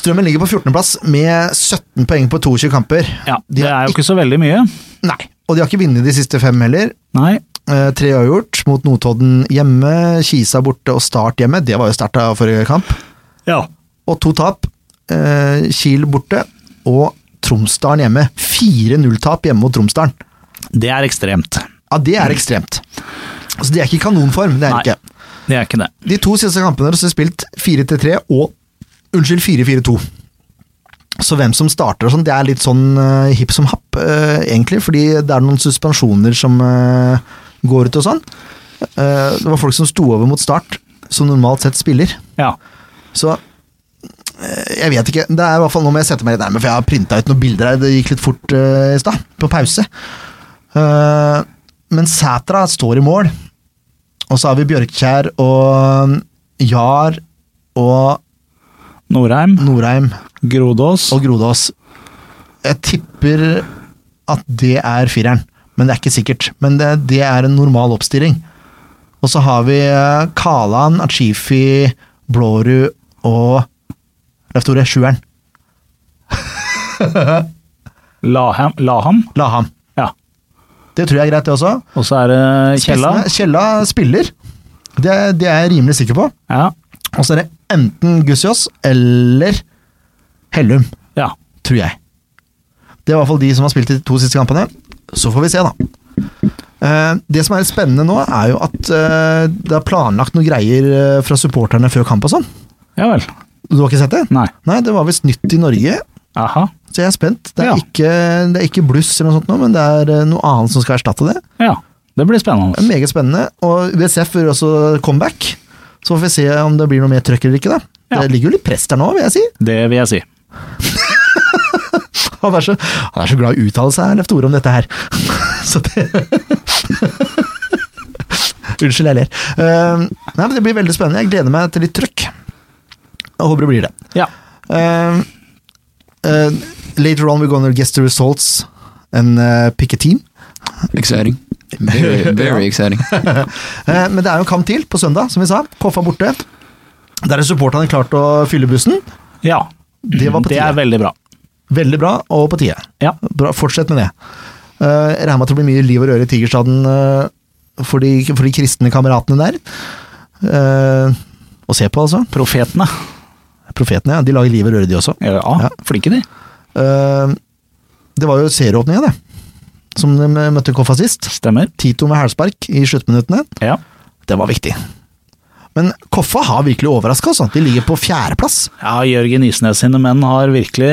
Speaker 1: Strømmen ligger på 14.-plass med 17 poeng på 22 kamper.
Speaker 2: Ja,
Speaker 1: De
Speaker 2: det
Speaker 1: har
Speaker 2: er jo ikke så veldig mye.
Speaker 1: Nei. Og de har ikke vunnet de siste fem heller.
Speaker 2: Nei.
Speaker 1: Eh, tre har gjort, mot Notodden hjemme, Kisa borte og Start hjemme. Det var jo starta forrige kamp.
Speaker 2: Ja.
Speaker 1: og to tap. Eh, Kiel borte og Tromsdalen hjemme. Fire nulltap hjemme mot Tromsdalen.
Speaker 2: Det er ekstremt.
Speaker 1: Ja, det er ekstremt. Altså, det er ikke kanonform. det er
Speaker 2: Nei.
Speaker 1: det ikke.
Speaker 2: Det er ikke det.
Speaker 1: De to siste kampene deres er spilt 4-3 og Unnskyld, 4-4-2. Så hvem som starter og sånn, det er litt sånn eh, hipp som happ, eh, egentlig. Fordi det er noen suspensjoner som eh, går ut og sånn. Eh, det var folk som sto over mot start, som normalt sett spiller.
Speaker 2: Ja.
Speaker 1: Så eh, jeg vet ikke. Det er i hvert fall Nå må jeg sette meg litt nærmere, for jeg har printa ut noen bilder her. Det gikk litt fort eh, i stad, på pause. Eh, men Sætra står i mål. Og så har vi Bjørkjær og Jar og
Speaker 2: Norheim,
Speaker 1: Norheim
Speaker 2: Grodås.
Speaker 1: og Grodås. Jeg tipper at det er fireren, men det er ikke sikkert. Men det, det er en normal oppstilling. Og så har vi eh, Kalan, Achifi, Blårud og Leif Tore, sjueren.
Speaker 2: Laham. Laham.
Speaker 1: La ham.
Speaker 2: Ja.
Speaker 1: Det tror jeg er greit, det også.
Speaker 2: Og så er det Kjella.
Speaker 1: Spissene- Kjella spiller. Det, det er jeg rimelig sikker på.
Speaker 2: Ja.
Speaker 1: Og så er det enten Gussiås eller Hellum,
Speaker 2: ja.
Speaker 1: tror jeg. Det er i hvert fall de som har spilt de to siste kampene. Så får vi se, da. Eh, det som er spennende nå, er jo at eh, det er planlagt noen greier eh, fra supporterne før kamp og sånn.
Speaker 2: Ja vel.
Speaker 1: Du har ikke sett det?
Speaker 2: Nei.
Speaker 1: Nei, det var visst nytt i Norge.
Speaker 2: Aha.
Speaker 1: Så jeg er spent. Det er,
Speaker 2: Ja.
Speaker 1: ikke, det er ikke bluss eller noe sånt nå, men det er eh, noe annet som skal erstatte det.
Speaker 2: Ja. Det blir
Speaker 1: Det er
Speaker 2: spennende.
Speaker 1: meget spennende. Og USF gjør også comeback. Så får vi se om det blir noe mer trøkk eller ikke. da.
Speaker 2: Ja.
Speaker 1: Det ligger jo litt press der nå, vil jeg si.
Speaker 2: Det vil jeg si.
Speaker 1: Han er så, han er så glad i å uttale seg, Leif Tore, om dette her. så det Unnskyld, jeg ler. Eh, nei, men Det blir veldig spennende. Jeg gleder meg til litt trøkk. Jeg håper det blir det.
Speaker 2: Ja.
Speaker 1: Um, uh, later on we're gonna guess the results and uh, pick a team.
Speaker 3: Exciting. Very, very exciting.
Speaker 1: Uh, men det er jo en kamp til på søndag, som vi sa. Koffa borte. Der har supporterne klart å fylle bussen.
Speaker 2: ja.
Speaker 1: Det var på
Speaker 2: Det er
Speaker 1: tide.
Speaker 2: veldig bra.
Speaker 1: Veldig bra, og på tide.
Speaker 2: Ja.
Speaker 1: Bra, fortsett med det. Uh, jeg Regner med at det blir mye liv og røre i Tigerstaden uh, for, de, for de kristne kameratene der. Uh, å se på, altså.
Speaker 2: Profetene.
Speaker 1: Profetene, ja. De lager liv og røre, de også.
Speaker 2: Ja,
Speaker 1: Ja.
Speaker 2: flinke de.
Speaker 1: Uh, det var jo serieåpninga, det. Som de eh, møtte Koffa sist.
Speaker 2: Stemmer.
Speaker 1: Tito med hælspark i sluttminuttene.
Speaker 2: Ja.
Speaker 1: Det var viktig. Men Koffa har virkelig overraska. Altså. De ligger på fjerdeplass.
Speaker 2: ja, Jørgen Isnes sine menn har virkelig,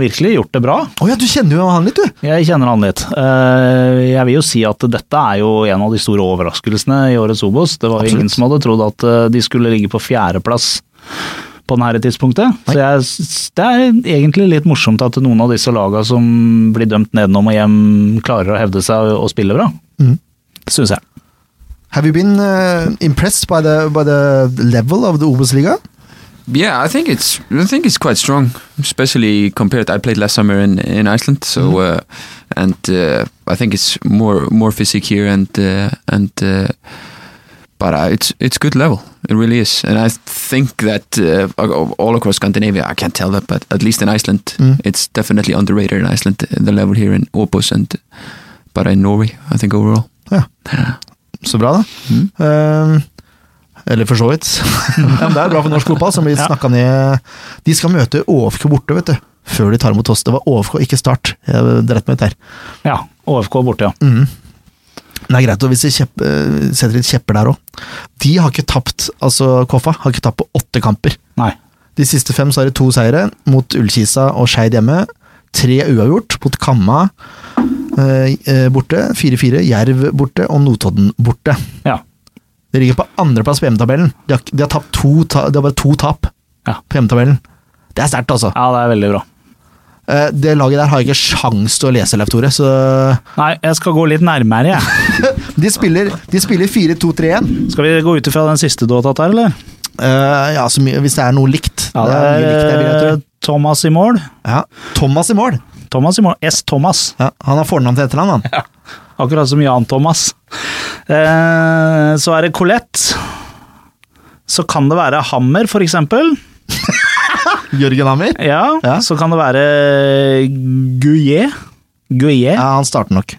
Speaker 2: virkelig gjort det bra.
Speaker 1: Å ja, du kjenner jo han litt, du!
Speaker 2: Jeg kjenner han litt. Eh, Jeg vil jo si at dette er jo en av de store overraskelsene i årets Obos. Det var jo
Speaker 1: Absolutt.
Speaker 2: ingen som hadde trodd at eh, de skulle ligge på fjerdeplass på dette tidspunktet. Så jeg, s- det er egentlig litt morsomt at noen av disse laga som blir dømt nedenom og hjem, klarer å hevde seg og spille bra.
Speaker 1: Mhm.
Speaker 2: Det syns jeg.
Speaker 1: Have you been uh, impressed by the, by the level of the Obos-liga?
Speaker 3: Yeah, I think it's I think it's quite strong, especially compared. I played last summer in in Iceland, so uh, and uh, I think it's more more physique here, and uh, and uh, but uh, it's it's good level. It really is, and I think that uh, all across Scandinavia, I can't tell that, but at least in Iceland,
Speaker 1: Mm.
Speaker 3: it's definitely underrated in Iceland. The level here in Opus and but in Norway, I think overall.
Speaker 1: Ja. Så bra, da.
Speaker 3: Mm.
Speaker 1: Eh, eller for så vidt. ja, men det er bra for norsk fotball, som blir
Speaker 2: Ja.
Speaker 1: snakka ned. De skal møte OFK borte, vet du. Før de tar imot oss. Det var OFK, ikke Start. Jeg dreit meg ut der.
Speaker 2: Ja, OFK borte, ja.
Speaker 1: Mm. Det er greit å hvis de kjepp, eh, setter litt kjepper der òg. De har ikke tapt, altså Koffa har ikke tapt på åtte kamper.
Speaker 2: Nei.
Speaker 1: De siste fem så er det to seire, mot Ullkisa og Skeid hjemme. Tre uavgjort, mot Kamma eh, eh, borte, 4-4, Jerv borte og Notodden borte.
Speaker 2: Ja.
Speaker 1: De ligger på andreplass på hjemmetabellen. De har, de, har tapt to, ta, de har bare to tap
Speaker 2: Ja.
Speaker 1: på hjemmetabellen. Det er sterkt, altså.
Speaker 2: ja, det er veldig bra.
Speaker 1: Eh, det laget der har jeg ikke sjans til å lese, Leif Tore, så
Speaker 2: Nei, jeg skal gå litt nærmere, jeg.
Speaker 1: De spiller, de spiller 4-2-3-1.
Speaker 2: Skal vi gå ut ifra den siste du har tatt her, eller?
Speaker 1: Eh, ja, så mye, hvis det er noe likt.
Speaker 2: Ja,
Speaker 1: det er mye likt jeg vil, jeg
Speaker 2: det
Speaker 1: tror.
Speaker 2: er Eh, Thomas i mål.
Speaker 1: Ja. Thomas i mål.
Speaker 2: Thomas i mål. S. Thomas.
Speaker 1: Ja, han har fornavn til etternavn, han.
Speaker 2: Akkurat som Jan Thomas. Eh, så er det Colette. Så kan det være Hammer, for eksempel.
Speaker 1: Jørgen Hammer.
Speaker 2: Ja.
Speaker 1: Ja.
Speaker 2: Så kan det være Guillet. Guillet.
Speaker 1: Ja,
Speaker 2: Ja.
Speaker 1: han starter nok.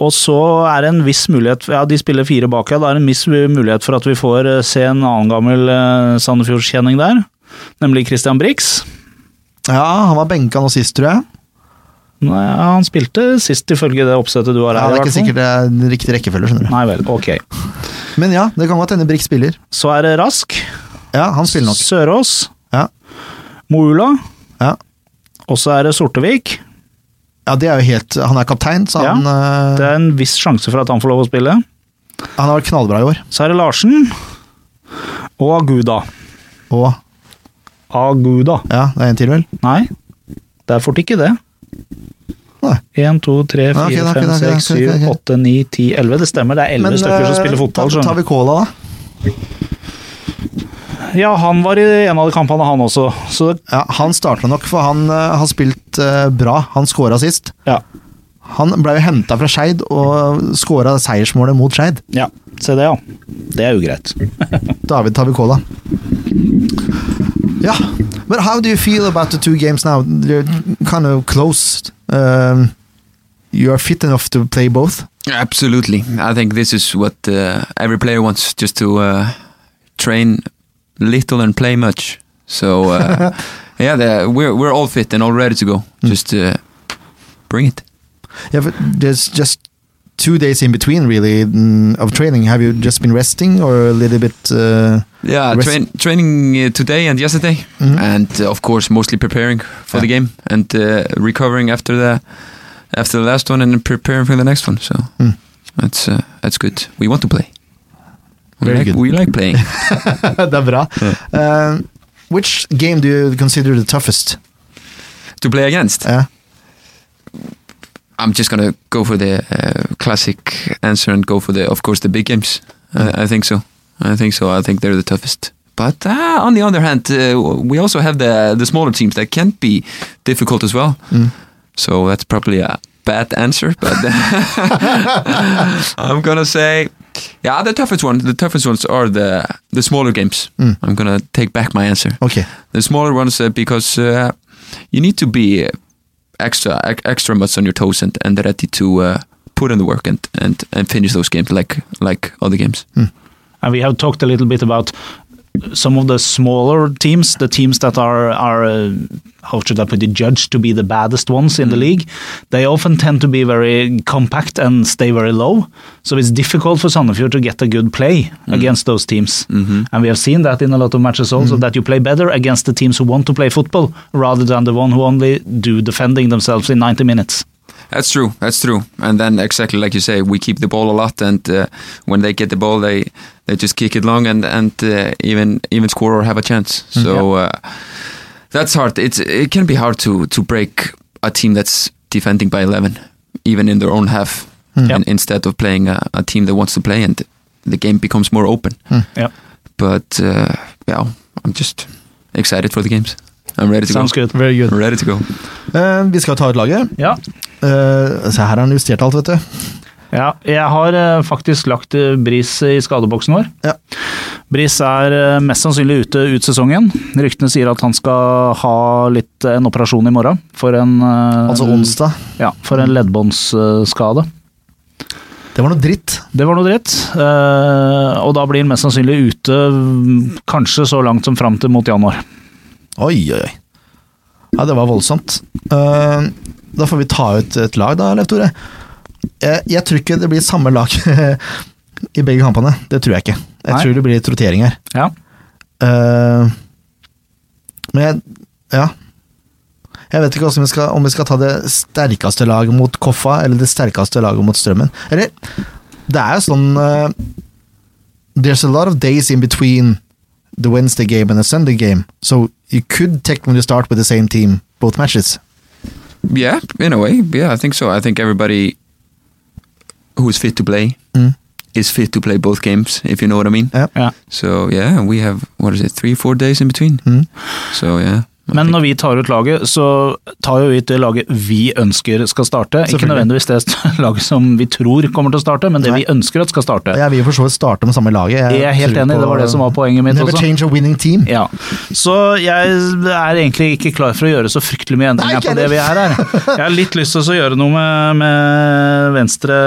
Speaker 2: Og så er det en viss mulighet Ja, de spiller fire bak, ja. Da er det en viss mulighet for at vi får eh, se en annen gammel eh, Sandefjordskjenning der. Nemlig Christian Brix.
Speaker 1: Ja, han var benka nå sist, tror jeg.
Speaker 2: Nei, han spilte sist, ifølge det oppsettet du har
Speaker 1: Ja, det er
Speaker 2: her. i hvert
Speaker 1: ikke
Speaker 2: fall.
Speaker 1: sikkert det er den riktige rekkefølge, skjønner du.
Speaker 2: Nei vel, ok.
Speaker 1: Men ja, det kan godt hende Brikk spiller.
Speaker 2: Så er det Rask.
Speaker 1: Ja, han spiller nok.
Speaker 2: Sørås.
Speaker 1: Ja.
Speaker 2: Moula.
Speaker 1: Ja.
Speaker 2: Og så er det Sortevik.
Speaker 1: ja, det er jo helt Han er kaptein, så
Speaker 2: Ja,
Speaker 1: han, eh,
Speaker 2: Det er en viss sjanse for at han får lov å spille.
Speaker 1: han har vært knallbra i år.
Speaker 2: Så er det Larsen. Og Aguda.
Speaker 1: Og
Speaker 2: Aguda.
Speaker 1: ja, det er en til, vel?
Speaker 2: Nei, det er fort ikke det.
Speaker 1: Nei.
Speaker 2: 1, 2, 3,
Speaker 1: Ja, ok,
Speaker 2: 4,
Speaker 1: da, ok,
Speaker 2: 5,
Speaker 1: da, ok,
Speaker 2: 6,
Speaker 1: da, ok,
Speaker 2: 7,
Speaker 1: da, ok.
Speaker 2: 8, 9, 10, 11. Det stemmer, det er 11 stykker som
Speaker 1: eh,
Speaker 2: spiller fotball.
Speaker 1: tar, tar
Speaker 2: skjønner
Speaker 1: vi Cola, da?
Speaker 2: du. Ja, han var i en av de kampene, han også. Så
Speaker 1: Ja, Han starta nok, for han eh, har spilt eh, bra. Han scora sist.
Speaker 2: ja.
Speaker 1: Han ble jo henta fra Skeid og scora seiersmålet mot Skeid.
Speaker 2: ja. Se det, ja. Det er jo greit.
Speaker 1: David Tabikola. Ja, but how do you feel about the two games now? They're kind of close. Um, You are fit enough to play both.
Speaker 3: Absolutely. I think this is what uh, every player wants, just to uh, train little and play much. So uh, yeah, the, we're we're all fit and all ready to go. Just uh, bring it.
Speaker 1: Yeah, but there's just two days in between, really, mm, of training. Have you just been resting or a little bit? Uh,
Speaker 3: Yeah,
Speaker 1: Rest-
Speaker 3: train, training uh, today and yesterday,
Speaker 1: Mhm.
Speaker 3: and uh, of course mostly preparing for the game and uh, recovering after the after the last one and preparing for the next one. So
Speaker 1: Mm.
Speaker 3: that's uh, that's good. We want to play. We
Speaker 1: Very
Speaker 3: like,
Speaker 1: good.
Speaker 3: We like playing.
Speaker 1: det er bra. Um, which game do you consider the toughest?
Speaker 3: to play against.
Speaker 1: Yeah.
Speaker 3: I'm just gonna go for the uh, classic answer and go for the, of course, the big games. I, I think so. I think so. I think they're the toughest. But uh, on the other hand, uh, we also have the the smaller teams that can be difficult as well.
Speaker 1: Mm.
Speaker 3: So that's probably a bad answer. But I'm gonna say, yeah, the toughest one. The toughest ones are the the smaller games.
Speaker 1: Mm.
Speaker 3: I'm gonna take back my answer
Speaker 1: Okay.
Speaker 3: the smaller ones uh, because uh, you need to be uh, extra ex- extra much on your toes and, and ready to uh, put in the work and, and, and finish those games like like other games.
Speaker 2: And we have talked a little bit about some of the smaller teams, the teams that are are uh, how should I put it, judged to be the baddest ones in the league. They often tend to be very compact and stay very low. So it's difficult for Sandefjord to get a good play against those teams. And we have seen that in a lot of matches also, that you play better against the teams who want to play football, rather than the one who only do defending themselves in 90 minutes.
Speaker 3: That's true. That's true. And then exactly like you say, we keep the ball a lot, and uh, when they get the ball, they they just kick it long and and uh, even even score or have a chance.
Speaker 2: Mm-hmm.
Speaker 3: So uh, that's hard. It's it can be hard to to break a team that's defending by eleven, even in their own half,
Speaker 2: Mm-hmm.
Speaker 1: Mm.
Speaker 3: and instead of playing a, a team that wants to play, and the game becomes more open.
Speaker 2: Yeah,
Speaker 3: But uh, yeah, I'm just excited for the games. I'm ready to
Speaker 2: sounds
Speaker 3: go.
Speaker 2: good.
Speaker 1: Very good.
Speaker 3: I'm ready to go.
Speaker 1: Eh, vi skal ta ut laget.
Speaker 2: Yeah.
Speaker 1: Eh, se her har han justert alt, vet du.
Speaker 2: Ja, jeg har eh, faktisk lagt eh, Bris i skadeboksen vår.
Speaker 1: Ja.
Speaker 2: Bris er eh, mest sannsynlig ute ut sesongen. Ryktene sier at han skal ha litt, eh, en operasjon i morgen for en, eh,
Speaker 1: Altså onsdag.
Speaker 2: Ja, for en leddbåndsskade.
Speaker 1: Det var noe dritt.
Speaker 2: Det var noe dritt. eh, og da blir han mest sannsynlig ute mm, kanskje så langt som fram til mot januar.
Speaker 1: Oi, oi, oi. Ja, det var voldsomt. Eh, da får vi ta ut et lag da, Leif Tore. Jeg, jeg tror ikke det blir samme lag i begge kampene. Det tror jeg ikke. Jeg
Speaker 2: Nei.
Speaker 1: tror det blir litt rotering her.
Speaker 2: Ja.
Speaker 1: Eh, men jeg ja. Jeg vet ikke også om vi, skal, om vi skal ta det sterkeste laget mot Koffa, eller det sterkeste laget mot Strømmen. Eller, det er jo sånn eh, There's a lot of days in between the Wednesday game and the Sunday game, so you could technically start with the same team both matches.
Speaker 3: Yeah, in a way. Yeah, I think so. I think everybody who is fit to play
Speaker 1: Mm. Uh.
Speaker 3: is fit to play both games, if you know what I mean.
Speaker 1: Ja.
Speaker 2: ja.
Speaker 3: So yeah, we have what is it, three, four days in between.
Speaker 1: Mm.
Speaker 3: So yeah. I
Speaker 2: Men
Speaker 3: think-
Speaker 2: når vi tar ut laget, så tar jo vi ut det laget vi ønsker skal starte. Ikke
Speaker 1: Selvfølgelig.
Speaker 2: nødvendigvis det st- laget som vi tror kommer til å starte, men det vi ønsker at skal starte.
Speaker 1: Jeg vil for så vidt starte med samme laget.
Speaker 2: Jeg er helt
Speaker 1: tror
Speaker 2: enig,
Speaker 1: på-
Speaker 2: det var det som var poenget mitt
Speaker 1: Never
Speaker 2: også.
Speaker 1: change a winning team.
Speaker 2: Ja. Så jeg er egentlig ikke klar for å gjøre så fryktelig
Speaker 1: Nei,
Speaker 2: mye endringer
Speaker 1: ikke
Speaker 2: på det vi er her. Jeg har litt lyst til å gjøre noe med, med venstre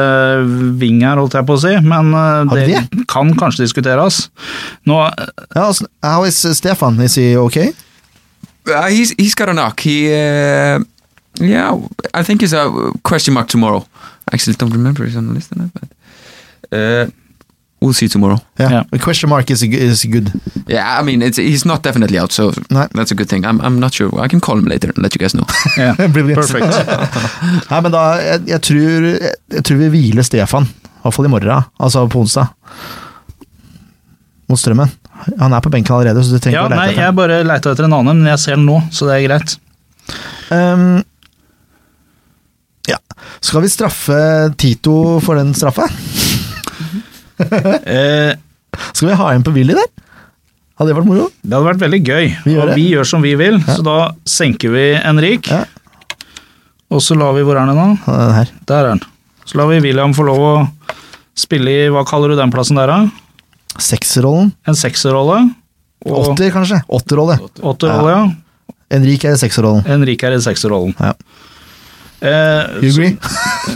Speaker 2: ving her, holdt jeg på å si, men eh,
Speaker 1: Har vi
Speaker 2: det kan kanskje diskuteres. Nå, eh,
Speaker 1: Ja, altså, how is uh, Stefan? Is he okay?
Speaker 3: Uh, he's he's got a knock. He uh, yeah, I think he's a question mark tomorrow. I actually don't remember he's on the list or not, but uh, we'll see tomorrow.
Speaker 1: Yeah.
Speaker 2: Ja.
Speaker 1: The Question mark is, is good.
Speaker 3: Yeah, I mean it's he's not definitely out, so
Speaker 1: No.
Speaker 3: that's a good thing. I'm I'm not sure. I can call him later and let you guys know.
Speaker 2: ja.
Speaker 1: Brilliant.
Speaker 2: Perfect.
Speaker 1: Nei, men da, jeg, jeg, tror, jeg, jeg tror vi hviler Stefan, i hvert fall i morgen, altså på onsdag. Mot strømmen. Han er på benken allerede, så du trenger
Speaker 2: Ja,
Speaker 1: ikke å
Speaker 2: nei,
Speaker 1: leite etter
Speaker 2: jeg
Speaker 1: ham.
Speaker 2: bare leita etter en annen, men jeg ser den nå, så det er greit.
Speaker 1: Ehm, ja. Skal vi straffe Tito for den straffa?
Speaker 2: Eh,
Speaker 1: Skal vi ha en på Willy der? Hadde det vært moro?
Speaker 2: Det hadde vært veldig gøy.
Speaker 1: Vi gjør
Speaker 2: og
Speaker 1: det.
Speaker 2: vi gjør som vi vil, så da senker vi Henrik.
Speaker 1: Ja.
Speaker 2: Og så lar vi Hvor er den nå?
Speaker 1: Ha Den her.
Speaker 2: Der er den. Så lar vi William få lov å spille i Hva kaller du den plassen der, da?
Speaker 1: Sekserrollen.
Speaker 2: En sekserrolle. Og
Speaker 1: Åtter, kanskje? Åtterrolle.
Speaker 2: åtterrolle, ja.
Speaker 1: Henrik er i sekserrollen.
Speaker 2: Henrik er i sekserrollen.
Speaker 1: Ja.
Speaker 2: Eh,
Speaker 1: You agree?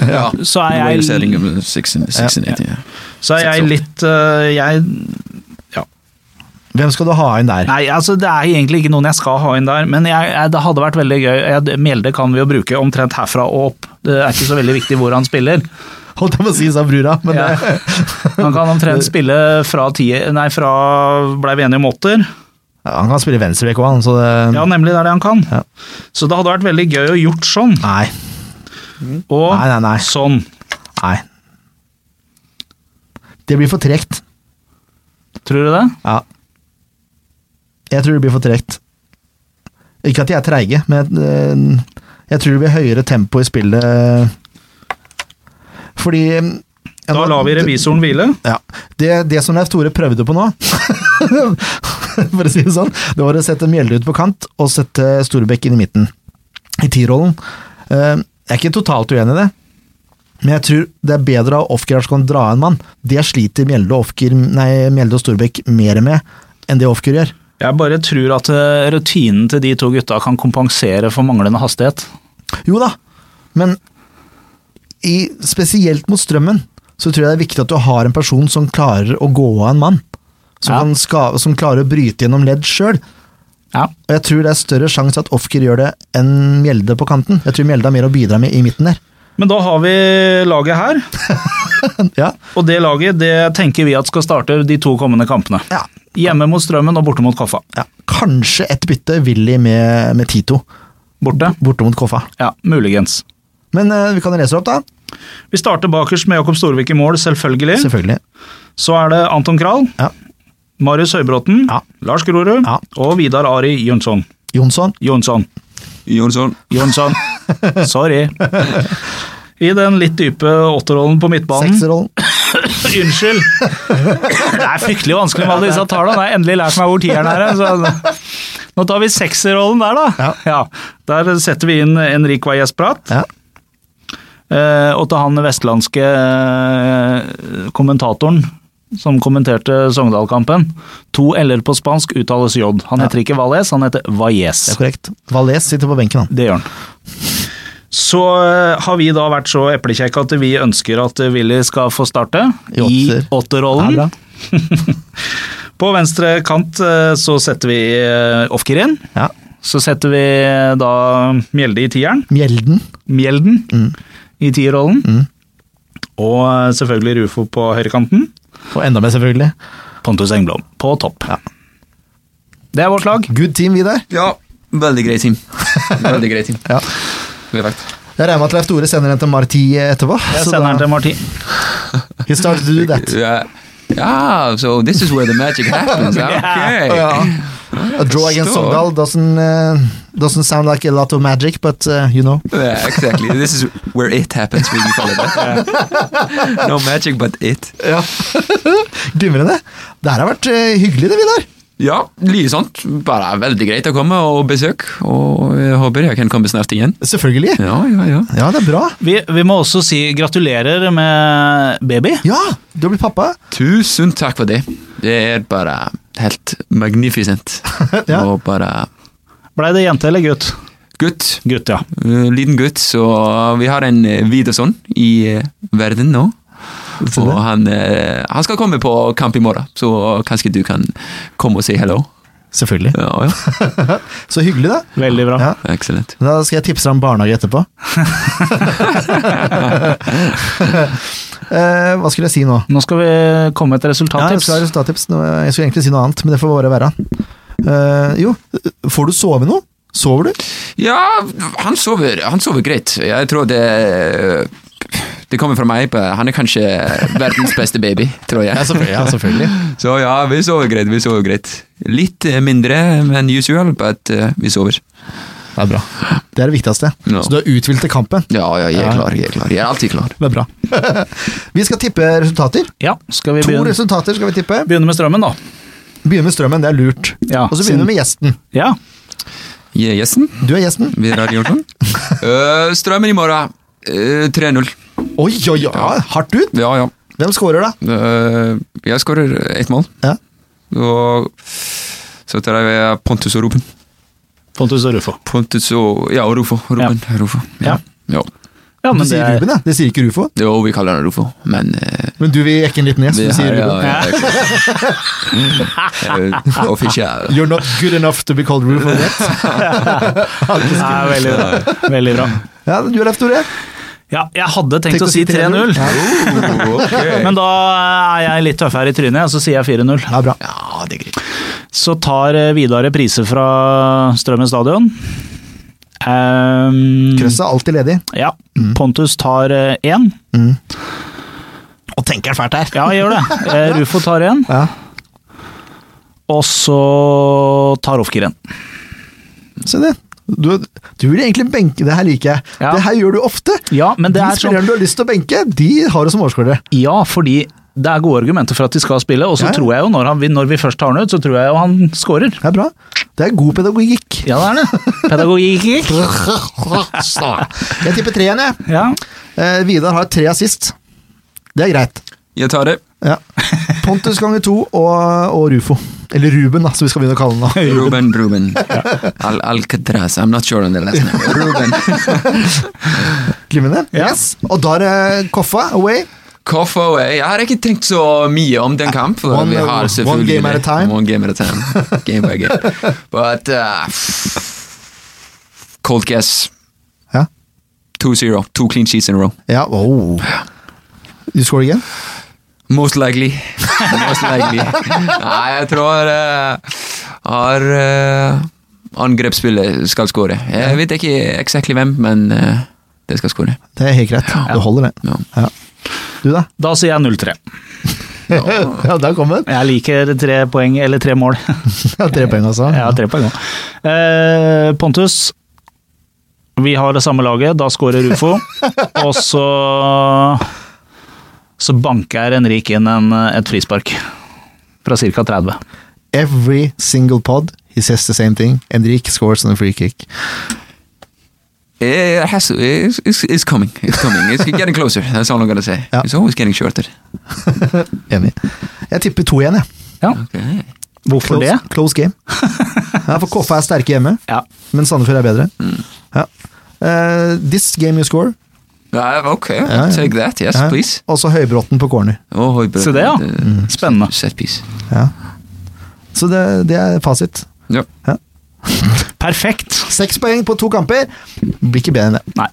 Speaker 3: Ja.
Speaker 2: Så er jeg-
Speaker 3: Rivalisering om 16, 1680, ja.
Speaker 2: Så er jeg litt øh, jeg, ja.
Speaker 1: Hvem skal du ha inn der?
Speaker 2: Nei, altså det er egentlig ikke noen jeg skal ha inn der, men jeg, jeg, det hadde vært veldig gøy. Jeg, Mjelde kan vi jo bruke omtrent herfra og opp. Det er ikke så veldig viktig hvor han spiller.
Speaker 1: Holdt jeg på å si, sa brura. Men
Speaker 2: Ja.
Speaker 1: det,
Speaker 2: Han kan omtrent spille fra ti, nei, fra blei vi enige om åtter.
Speaker 1: han kan spille venstrebekk òg, han, så det
Speaker 2: Ja, nemlig det er det han kan.
Speaker 1: Ja.
Speaker 2: Så det hadde vært veldig gøy å gjort sånn,
Speaker 1: Nei.
Speaker 2: og
Speaker 1: Nei, nei, nei.
Speaker 2: sånn.
Speaker 1: Nei. Det blir for tregt.
Speaker 2: Tror du det?
Speaker 1: Ja. Jeg tror det blir for tregt. Ikke at de er treige, men eh, jeg tror det blir høyere tempo i spillet. Fordi eh, ja,
Speaker 2: Da
Speaker 1: nå-
Speaker 2: lar vi revisoren hvile.
Speaker 1: Ja. Det, det som Leif Tore prøvde på nå, for å si det sånn, det var å sette Mjelde ut på kant og sette Storbekk inn i midten, i T-rollen. Eh, Jeg er ikke totalt uenig i det, men jeg tror det er bedre å ha Ofker her som kan dra en mann. Det sliter Mjelde og, Ofker, nei, Mjelde og Storbekk mer med enn det Ofker gjør.
Speaker 2: Jeg bare tror at eh, rutinen til de to gutta kan kompensere for manglende hastighet.
Speaker 1: Jo da, men i, spesielt mot strømmen, så tror jeg det er viktig at du har en person som klarer å gå av en mann. Som,
Speaker 2: Ja.
Speaker 1: kan ska, som klarer å bryte gjennom ledd sjøl.
Speaker 2: Ja.
Speaker 1: Og jeg tror det er større sjanse at Ofker gjør det enn Mjelde på kanten. Jeg tror Mjelde har mer å bidra med i midten der.
Speaker 2: Men da har vi laget her.
Speaker 1: Ja,
Speaker 2: Og det laget det tenker vi at skal starte de to kommende kampene.
Speaker 1: ja,
Speaker 2: Hjemme mot Strømmen og borte mot Koffa.
Speaker 1: ja. Kanskje et bytte Willy med, med Tito
Speaker 2: Borte?
Speaker 1: borte mot Koffa.
Speaker 2: Ja, muligens.
Speaker 1: Men eh, vi kan lese opp, da.
Speaker 2: Vi starter bakerst med Jakob Storvik i mål, selvfølgelig.
Speaker 1: Selvfølgelig.
Speaker 2: Så er det Anton Kral,
Speaker 1: Ja.
Speaker 2: Marius Høybråten,
Speaker 1: Ja.
Speaker 2: Lars Grorud
Speaker 1: Ja.
Speaker 2: og Vidar Ari Jonsson.
Speaker 1: Jonsson.
Speaker 2: Jonsson.
Speaker 3: Jonsson.
Speaker 2: Jonsson. Sorry. I den litt dype åtterrollen på midtbanen.
Speaker 1: Sekserrollen.
Speaker 2: Unnskyld! Det er fryktelig vanskelig med alle disse tallene. Jeg har endelig lært meg hvor tieren er. Så. Nå tar vi sekserrollen der, da. Ja. Der setter vi inn Enrik Valles Prat.
Speaker 1: Ja.
Speaker 2: eh, Og til han vestlandske eh, kommentatoren som kommenterte Sogndal-kampen. To l-er på spansk uttales J. Han heter ikke Valles, han heter Valles.
Speaker 1: Det er korrekt. Valais sitter på benken, han.
Speaker 2: Det gjør han. Så eh, har vi da vært så eplekjekke at vi ønsker at eh, Willy skal få starte
Speaker 1: I
Speaker 2: i
Speaker 1: åtter.
Speaker 2: åtterrollen.
Speaker 1: Ja, bra.
Speaker 2: På venstre kant eh, så setter vi eh, Ofker inn.
Speaker 1: Ja.
Speaker 2: Så setter vi eh, da Mjelde i tieren.
Speaker 1: Mjelden.
Speaker 2: Mjelden
Speaker 1: Mm.
Speaker 2: i tierrollen. Og eh, selvfølgelig Rufo på høyrekanten.
Speaker 1: Og enda mer, selvfølgelig.
Speaker 2: Pontus Engblom på topp.
Speaker 1: Ja.
Speaker 2: Det er vårt lag.
Speaker 1: Good team, vi der.
Speaker 3: Ja, veldig grei team. Veldig grei team. er
Speaker 1: Ja.
Speaker 3: Vi vet.
Speaker 1: Jeg regner med at Leif Tore sender den til Marti etterpå.
Speaker 2: Jeg
Speaker 1: så
Speaker 2: sender
Speaker 1: da-
Speaker 2: den til Martin.
Speaker 1: He started to do that.
Speaker 3: Ja, ja, so this is where the magic happens. ja, Ok.
Speaker 1: Ja. A draw against
Speaker 3: Forstår.
Speaker 1: Sogndal doesn't, uh, doesn't sound like a lot of magic, but uh, you know.
Speaker 3: Yeah, exactly. This is where it happens, we call it that. No magic, but it.
Speaker 1: Ja. Glimrende. Det her har vært eh, hyggelig, det, Vidar.
Speaker 3: Ja, like sant. Bare veldig greit å komme og besøke, og jeg håper jeg kan komme snart igjen.
Speaker 1: Selvfølgelig.
Speaker 3: Ja, ja, ja.
Speaker 1: Ja, det er bra.
Speaker 2: Vi, vi må også si gratulerer med baby.
Speaker 1: Ja, du har blitt pappa.
Speaker 3: Tusen takk for det. Det er bare helt magnificent.
Speaker 1: Ja.
Speaker 3: Og bare
Speaker 2: Blei det jente eller gutt?
Speaker 3: gutt.
Speaker 2: Gutt, ja.
Speaker 3: eh, Liten gutt, så vi har en eh, videosønn i eh, verden nå.
Speaker 1: Se
Speaker 3: Og
Speaker 1: det.
Speaker 3: han, eh, han skal komme på kamp i morgen, så kanskje du kan komme og si hello.
Speaker 1: Selvfølgelig.
Speaker 3: Ja, ja.
Speaker 1: Så hyggelig, da.
Speaker 2: Veldig bra.
Speaker 1: Ja.
Speaker 3: Excellent.
Speaker 1: Da skal jeg tipse deg om barnehage etterpå. Eh, hva skulle jeg si nå?
Speaker 2: Nå skal vi komme med et
Speaker 1: Ja, jeg
Speaker 2: resultattips.
Speaker 1: skulle ha resultattips. Nå, eh, Jeg skulle egentlig si noe annet, men det får bare være. Eh, jo, får du sove noe? Sover du?
Speaker 3: Ja, han sover, han sover greit. Jeg tror det Det kommer fra meg. men Han er kanskje verdens beste baby, tror jeg.
Speaker 1: selvfølgelig.
Speaker 3: Så ja, vi sover greit. vi sover greit. Litt eh, mindre enn usual, but eh, vi sover.
Speaker 1: Det er bra. Det er det viktigste.
Speaker 3: Ja.
Speaker 1: Så du har uthvilt til kampen.
Speaker 3: Ja, ja, jeg
Speaker 1: Ja.
Speaker 3: er klar. Jeg er klar. Jeg er alltid klar.
Speaker 1: Det er bra. vi skal tippe resultater.
Speaker 2: Ja, skal vi
Speaker 1: To
Speaker 2: begynne,
Speaker 1: resultater skal vi tippe.
Speaker 2: begynne med strømmen, da?
Speaker 1: Begynne med strømmen, det er lurt.
Speaker 2: Ja,
Speaker 1: Og så begynner vi med gjesten.
Speaker 2: Ja.
Speaker 3: Jeg er gjesten.
Speaker 1: Du er gjesten.
Speaker 3: Vi er Radio Jonsson. Eh, strømmen i morgen. eh, 3-0.
Speaker 1: Oi, oi, oi, ja, hardt ut!
Speaker 3: Ja, ja.
Speaker 1: Hvem scorer, da?
Speaker 3: Eh, jeg skårer ett mål.
Speaker 1: Ja.
Speaker 3: Og så tar jeg Pontus og Ruben.
Speaker 2: Pontus og Rufo.
Speaker 3: Pontus og Ja, og Rufo. Ruben. Rufo.
Speaker 2: Ja.
Speaker 3: ja.
Speaker 2: Ja,
Speaker 1: Du
Speaker 2: men det
Speaker 1: sier
Speaker 2: er
Speaker 1: Ruben, ja. Det sier ikke Rufo.
Speaker 3: Jo, vi kaller han Rufo, men eh,
Speaker 1: Men du vil jekke en liten gjest,
Speaker 3: vi
Speaker 1: du sier
Speaker 3: har-
Speaker 1: Ruben.
Speaker 3: ja, ja, ja. Eh, Offisiell.
Speaker 1: You're not good enough to be called Rufo yet.
Speaker 2: ja, veldig bra. Veldig bra.
Speaker 1: Ja, du er F-Tore.
Speaker 2: Ja, jeg hadde tenkt å si 3-0,
Speaker 3: Oh, ok.
Speaker 2: men da er jeg litt tøffere i trynet, og så sier jeg 4-0.
Speaker 1: Ja, bra.
Speaker 3: Ja, det er greit.
Speaker 2: Så tar eh, Vidare priser fra Strømmen stadion. Ehm,
Speaker 1: Krøsset er alltid ledig.
Speaker 2: ja. Pontus tar eh, én.
Speaker 1: Og tenker fælt her.
Speaker 2: Ja, gjør det. Eh, Rufo tar én,
Speaker 1: Ja.
Speaker 2: og så tar Ofker én.
Speaker 1: Se det. Du, du vil egentlig benke, det her liker jeg.
Speaker 2: Ja.
Speaker 1: Det her gjør du ofte.
Speaker 2: Ja, men det
Speaker 1: de
Speaker 2: er sånn
Speaker 1: spillerne du har lyst til å benke, de har du som overskårere.
Speaker 2: Ja, fordi det er gode argumenter for at de skal spille, og så
Speaker 1: Ja, ja.
Speaker 2: tror jeg jo når, han, når vi først tar han ut, så tror jeg jo han scorer.
Speaker 1: Det er bra. Det er god pedagogikk.
Speaker 2: Ja, det er det. Pedagogikk.
Speaker 1: Jeg tipper tre igjen, jeg.
Speaker 2: Ja.
Speaker 1: Eh, Vidar har tre assist. Det er greit.
Speaker 3: Jeg tar det.
Speaker 1: Ja. Pontus ganger to og, og Rufo. Eller Ruben, da, som vi skal begynne å kalle han nå.
Speaker 3: Ruben, Ruben. Al Alcatraz, I'm not sure on the last name. Ruben.
Speaker 1: Glimrende.
Speaker 2: Ja.
Speaker 1: Yes. Og da er det Koffa away.
Speaker 3: Koffo, jeg har ikke tenkt så mye om den kampen.
Speaker 1: One-
Speaker 3: vi har
Speaker 1: one
Speaker 3: selvfølgelig-
Speaker 1: game at a time.
Speaker 3: One game at a time. Game by game. But uh, Cold guess.
Speaker 1: Ja.
Speaker 3: 2-0. Two clean sheets in a row.
Speaker 1: ja. Oh. You score again?
Speaker 3: Most likely. Most likely. Nei, jeg tror eh, har eh, angrepsspillet skal skåre. Jeg vet ikke eksakt hvem, men eh, det skal skåre.
Speaker 1: Det er helt greit. Det holder, det.
Speaker 3: Ja.
Speaker 1: Ja. Du, da?
Speaker 2: Da sier jeg 0-3.
Speaker 1: Ja, der kom den.
Speaker 2: Jeg liker tre poeng, eller tre mål.
Speaker 1: Ja, tre poeng, altså.
Speaker 2: Jeg har tre poeng òg. Eh, Pontus, vi har det samme laget. Da scorer Rufo. og så så banker Henrik inn en, et frispark fra ca. 30.
Speaker 1: Every single pod, he says the same thing. Henrik scores on a free kick.
Speaker 3: Eh, It has to, it's, it's, it's coming. It's coming. It's getting closer. That's all I'm gonna say.
Speaker 1: Ja.
Speaker 3: It's always getting shorter.
Speaker 1: Enig. Jeg tipper to igjen, jeg.
Speaker 2: Ja,
Speaker 3: Okay.
Speaker 2: Hvorfor det?
Speaker 1: close game. Ja, for Koffa er sterke hjemme,
Speaker 2: Ja.
Speaker 1: men Sandefjord er bedre. Ja. Eh, this game you score.
Speaker 3: Uh, okay,
Speaker 1: Ja, ja.
Speaker 3: I'll take that. Yes,
Speaker 1: Ja.
Speaker 3: please.
Speaker 1: Og så Høybråten på corner.
Speaker 3: Oh, Høybråten,
Speaker 2: Se det, ja.
Speaker 3: eh,
Speaker 2: Spennende.
Speaker 3: Set piece.
Speaker 1: Ja. Så det, det er fasit.
Speaker 3: Ja.
Speaker 2: Perfekt.
Speaker 1: Seks poeng på to kamper. Blir ikke bedre enn det.
Speaker 2: Nei.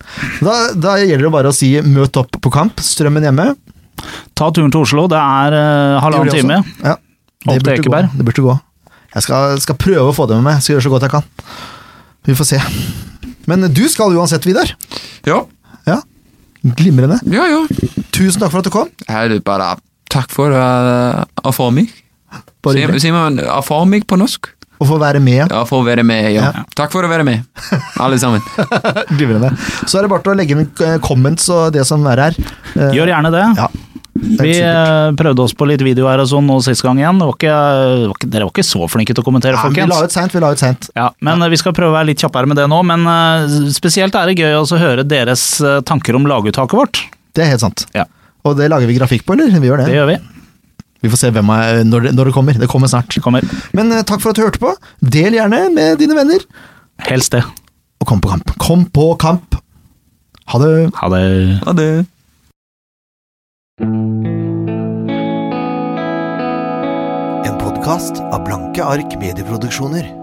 Speaker 1: Da, da gjelder det bare å si møt opp på kamp. Strømmen hjemme.
Speaker 2: Ta turen til Oslo. Det er eh, halvannen
Speaker 1: Gjorde jeg
Speaker 2: time.
Speaker 1: også. Ja. Det
Speaker 2: Opp til
Speaker 1: burde, gå.
Speaker 2: Ekeberg.
Speaker 1: det burde gå. Jeg skal, skal prøve å få det med meg. Jeg Skal gjøre så godt jeg kan. Vi får se. Men du skal uansett, Vidar.
Speaker 3: ja,
Speaker 1: Ja. Glimrende.
Speaker 3: ja, ja.
Speaker 1: Tusen takk for at du kom.
Speaker 3: Her er det bare takk for uh, å få meg.
Speaker 1: Bare
Speaker 3: Sier
Speaker 1: hyggelig.
Speaker 3: sier man å få meg på norsk?
Speaker 1: Og for å være med.
Speaker 3: Ja, for å være med, ja.
Speaker 1: Ja.
Speaker 3: Takk for å være med, alle sammen.
Speaker 1: Glimrende. Så er det bare til å legge inn eh, comments og det som er her. Eh,
Speaker 2: Gjør gjerne det.
Speaker 1: Ja. Det er
Speaker 2: Vi
Speaker 1: ikke så lurt.
Speaker 2: eh, prøvde oss på litt video her og sånn nå sist gang igjen. Det var ikke, det var ikke, dere var ikke så flinke til å kommentere,
Speaker 1: Ja, men vi
Speaker 2: folkens.
Speaker 1: la ut seint, vi la ut seint.
Speaker 2: Ja, men eh, vi skal prøve å være litt kjappere med det nå. Men eh, spesielt er det gøy også å høre deres eh, tanker om laguttaket vårt.
Speaker 1: Det er helt sant.
Speaker 2: Ja,
Speaker 1: Og det lager vi grafikk på, eller? Vi gjør det.
Speaker 2: Det gjør vi.
Speaker 1: Vi får se hvem er, når, det, når det kommer. Det kommer snart.
Speaker 2: Det kommer.
Speaker 1: Men eh, takk for at du hørte på. Del gjerne med dine venner.
Speaker 2: Helst det.
Speaker 1: Og kom på kamp. Kom på kamp! Ha det.
Speaker 2: Ha det.
Speaker 3: Ha det.
Speaker 5: En podkast av Blanke ark medieproduksjoner.